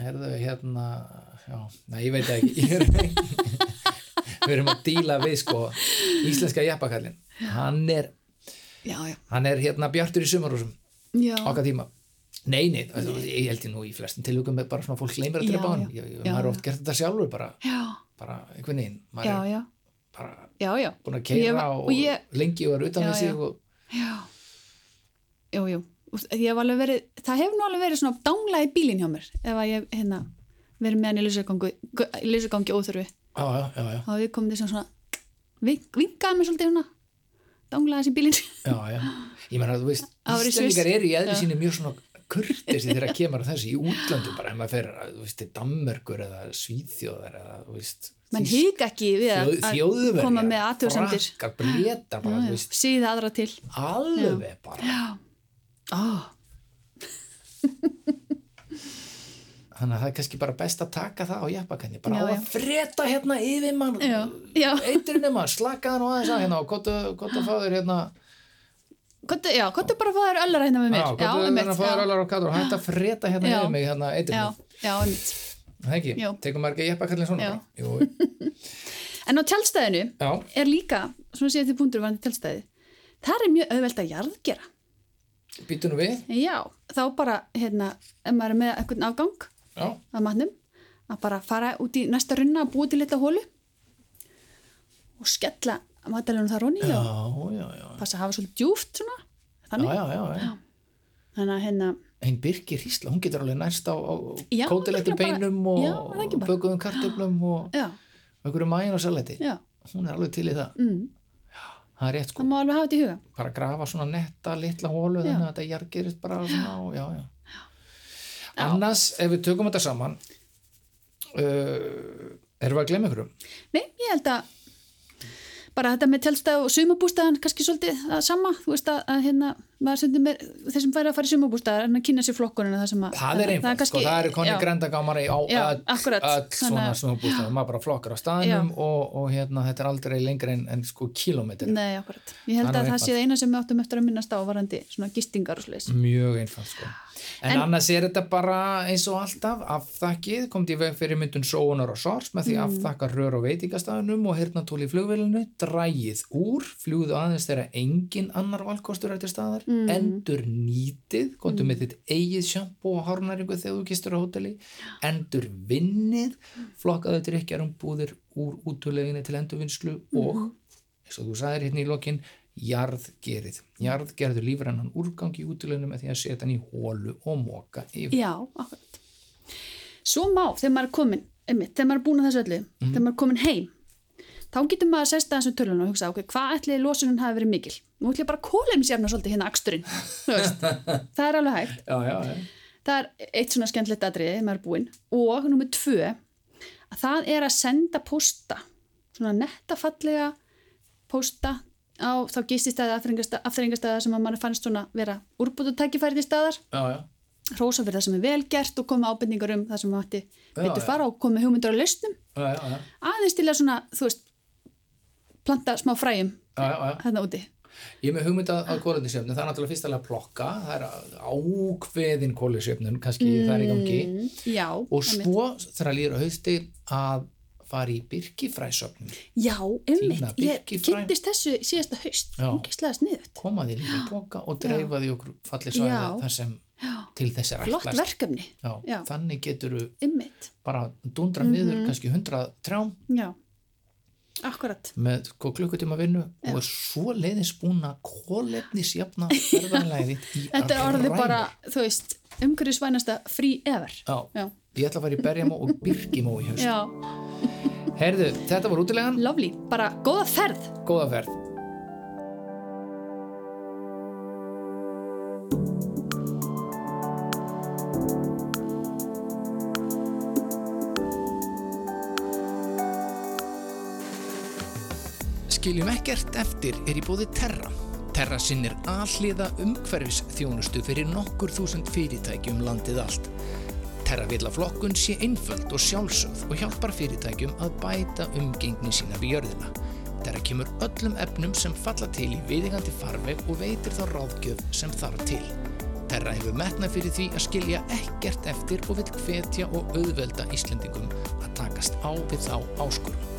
A: Herðu, hérna... Já, nei, ég veit það ekki. Ég er ekki. Við erum að díla við, sko, íslenska jeppakallin. Hann er,
B: Já, já,
A: hann er hérna bjartur í sumarúsum
B: já,
A: okkar tíma nei, nei, þú veist, ég held ég nú í flestin tilugum bara svona fólk gleymir að
B: Já,
A: drepa hann
B: já.
A: Ég- ég-
B: Já,
A: maður er
B: já.
A: oft gert þetta sjálfur bara,
B: já,
A: bara einhvern veginn maður
B: já,
A: er
B: já,
A: bara
B: já, já.
A: búin að
B: Ég
A: keira
B: var-
A: og,
B: og ég-
A: lengi og er utan við
B: Já, já.
A: sig og
B: já. Jú, jú, Og ég hef alveg verið, það hefur nú alveg verið svona dangla í bílinn hjá mér ef að ég, hérna, verið með hann í lýsugangi, lýsugangi óþörfi
A: já, já, já, já,
B: þá við komum þessum svona vink, vinkaði mér svolítið svona danglaði þessi bílinn
A: já, já. ég meina, þú veist,
B: Það var í
A: Íslandingar
B: Sviss.
A: eru í eðli
B: Já.
A: sínu mjög svona kurtisi þegar að kemur að þessu í útlöndum bara, ef maður fer, að, þú veist, til Danmörkur eða Svíþjóðar eða, þú veist
B: menn
A: Þýsk-
B: hika ekki við að,
A: þjóð-
B: að koma með
A: Þjóðverjar,
B: aðtöðsendir
A: frakkar, breytar bara, þú veist,
B: síða aðra til
A: alveg bara Ah.
B: oh.
A: þannig að það er kannski bara best að taka það á jafnbakanni, bara
B: Já,
A: á að
B: já.
A: freta hérna yfir mann,
B: já, já,
A: eiturinn mann slaka hann og aðeins að hérna og gott að fáður hérna,
B: Komdu- já hvað er bara að fáður öllar hérna með mér
A: já, gott að
B: einmitt,
A: hérna fáður
B: já,
A: allar og kattur og hægt að freta hérna
B: Já.
A: yfir mig hérna
B: já,
A: eiturinn,
B: já, einmitt
A: það ekki,
B: Jú.
A: tekum maður ekki jafnbakanni svona
B: Já.
A: bara? Jú,
B: en á tjálstæðinu
A: já,
B: er líka svona séð til punktur varandi tjálstæði þar er mjög auðvelt að jarðgera
A: býtu nú við
B: já, þá bara hérna, ef maður er með einhvern afgang
A: já,
B: að matnum að bara fara út í næsta runna að búa til litla hólu og skella matalunum þar honni
A: já,
B: og
A: já, já
B: passa að hafa svolítið djúft svona þannig,
A: já, já, já, já.
B: þannig að hérna
A: einn Birgir Hísla, hún getur alveg nærst á, á
B: Já,
A: kótilegtum
B: örugglega bara-
A: beinum
B: Já,
A: og
B: það ekki bara.
A: bökuðum kartöflum og
B: já,
A: einhverju mæin og saletti
B: já,
A: hún er alveg til í það,
B: mm,
A: það er rétt sko
B: það má alveg hafa þetta í huga
A: bara grafa svona netta litla hólu
B: Já.
A: þannig að þetta jargerist bara svona og já, já. Annars, ef við tökum þetta saman uh, erum við að glemma ykkur
B: nei, ég held að bara þetta með tjálstæð og sumabústæðan kannski svolítið það sama, þú veist að, að hérna, maður stundum er, þeir sem færi að fara í sumabústæðar en að kynna sér flokkunina það sem að
A: Það er einfalt, sko, það eru konni
B: já,
A: grandagámari á
B: Já,
A: öll,
B: akkurat.
A: öll svona
B: Þannig að-
A: snúbústæðum, maður bara flokkar á staðnum og, og hérna, þetta er aldrei lengra en, en sko kílómetri,
B: Nei, akkurat. Ég held
A: Það er
B: að
A: nú
B: það sé það eina sem við áttum eftir að minnast á varandi svona gistingar og slis.
A: mjög einfalt sko. en,
B: En-
A: annars er þetta bara eins og alltaf, afþakkið komd í veg fyrir myndun sóunar og sors með því mm. afþakka rör á veitingastæðunum og hirnatól í flugvélinu, drægið úr fljúðu aðeins þegar engin annar valkostur er til staðar, endur nýtið, komdu með þitt eigið sjampó og hárnæringu þegar þú kistur á hóteli endur vinnið flokkaðu drikkjarum búðir úr útuleginni til endurvinnslu og eins og þú sagðir hérna í lokin jarðgerið. Jarð gerður lífrannan úrgang í útilegnum með því að setja hann í hólu og móka yfir.
B: Já, akkurat. Svo má, þegar maður er komin, einmitt, þegar maður er búin að þessu öllu, þegar maður er komin heim, þá getur maður að sesta þessu tölun og hugsa, ok, hvað ætli losunum hafi verið mikil? Nú ætli ég bara kóleimsjafna svolítið hérna aksturinn, þú veist. það er alveg hægt.
A: Já, já, já.
B: Það er eitt svona skemmtilegt atriði, maður er búinn. Og nummer tvö, að það er að senda pósta, svona netta fallega pósta á þá gististæði afþrengastæða sem að mann fannst svona vera úrbútu tækifærið í staðar
A: Já, já.
B: hrósa fyrir það sem er vel gert og koma ábendingar um það sem átti betur
A: já.
B: fara og koma með hugmyndur á lausnum
A: Já, já, já.
B: aðeins til að svona, þú veist planta smá fræjum
A: Já, já, já.
B: þarna úti
A: Ég er með hugmynd að, að kólunisjöfnun, það er náttúrulega fyrst alveg að plokka, það er ákveðin kólunisjöfnun, kannski það er í gangi
B: Mm, já,
A: og
B: einmitt.
A: svo þegar líður á hausti að fara í byrkifræsöfnun,
B: Já,
A: Tína
B: einmitt, ég
A: birkifræ.
B: kynntist þessu síðasta haust,
A: Já.
B: hún gæstlega sniðut
A: koma því líka í plokka og
B: Já.
A: dreifa því okkur fallið svæða
B: Já.
A: þar sem
B: Já.
A: til þess er
B: flott
A: ætlast.
B: verkefni,
A: Já.
B: Já. Mhm.
A: Þannig getur þú
B: einmitt
A: bara dundra niður kannski 100 trjám
B: Já, akkurat
A: með sko, klukkutíma vinnu og er svo leiðis búin að kólefnisjafna ferðanlega þitt í
B: Þetta er
A: að
B: orðið
A: ræna.
B: bara, þú veist, umhverfisvænasta frí ever
A: Já,
B: Já,
A: ég ætla að fara í berjamó og byrkimó í haust.
B: já,
A: Herðu, þetta var útilegan,
B: lovely, bara góða ferð
A: góða ferð. Skiljum ekkert eftir er í bóði Terra. Terra sinnir alliða umhverfis þjónustu fyrir nokkur þúsund fyrirtæki um landið allt. Terra vill að flokkun sé einföld og sjálfsögð og hjálpar fyrirtækjum að bæta umgengni sína við jörðina. Terra kemur öllum efnum sem falla til í viðingandi farveg og veitir þá ráðgjöf sem þarf til. Terra hefur metna fyrir því að skilja ekkert eftir og vill hvetja og auðvelda Íslendingum að takast á við þá áskurum.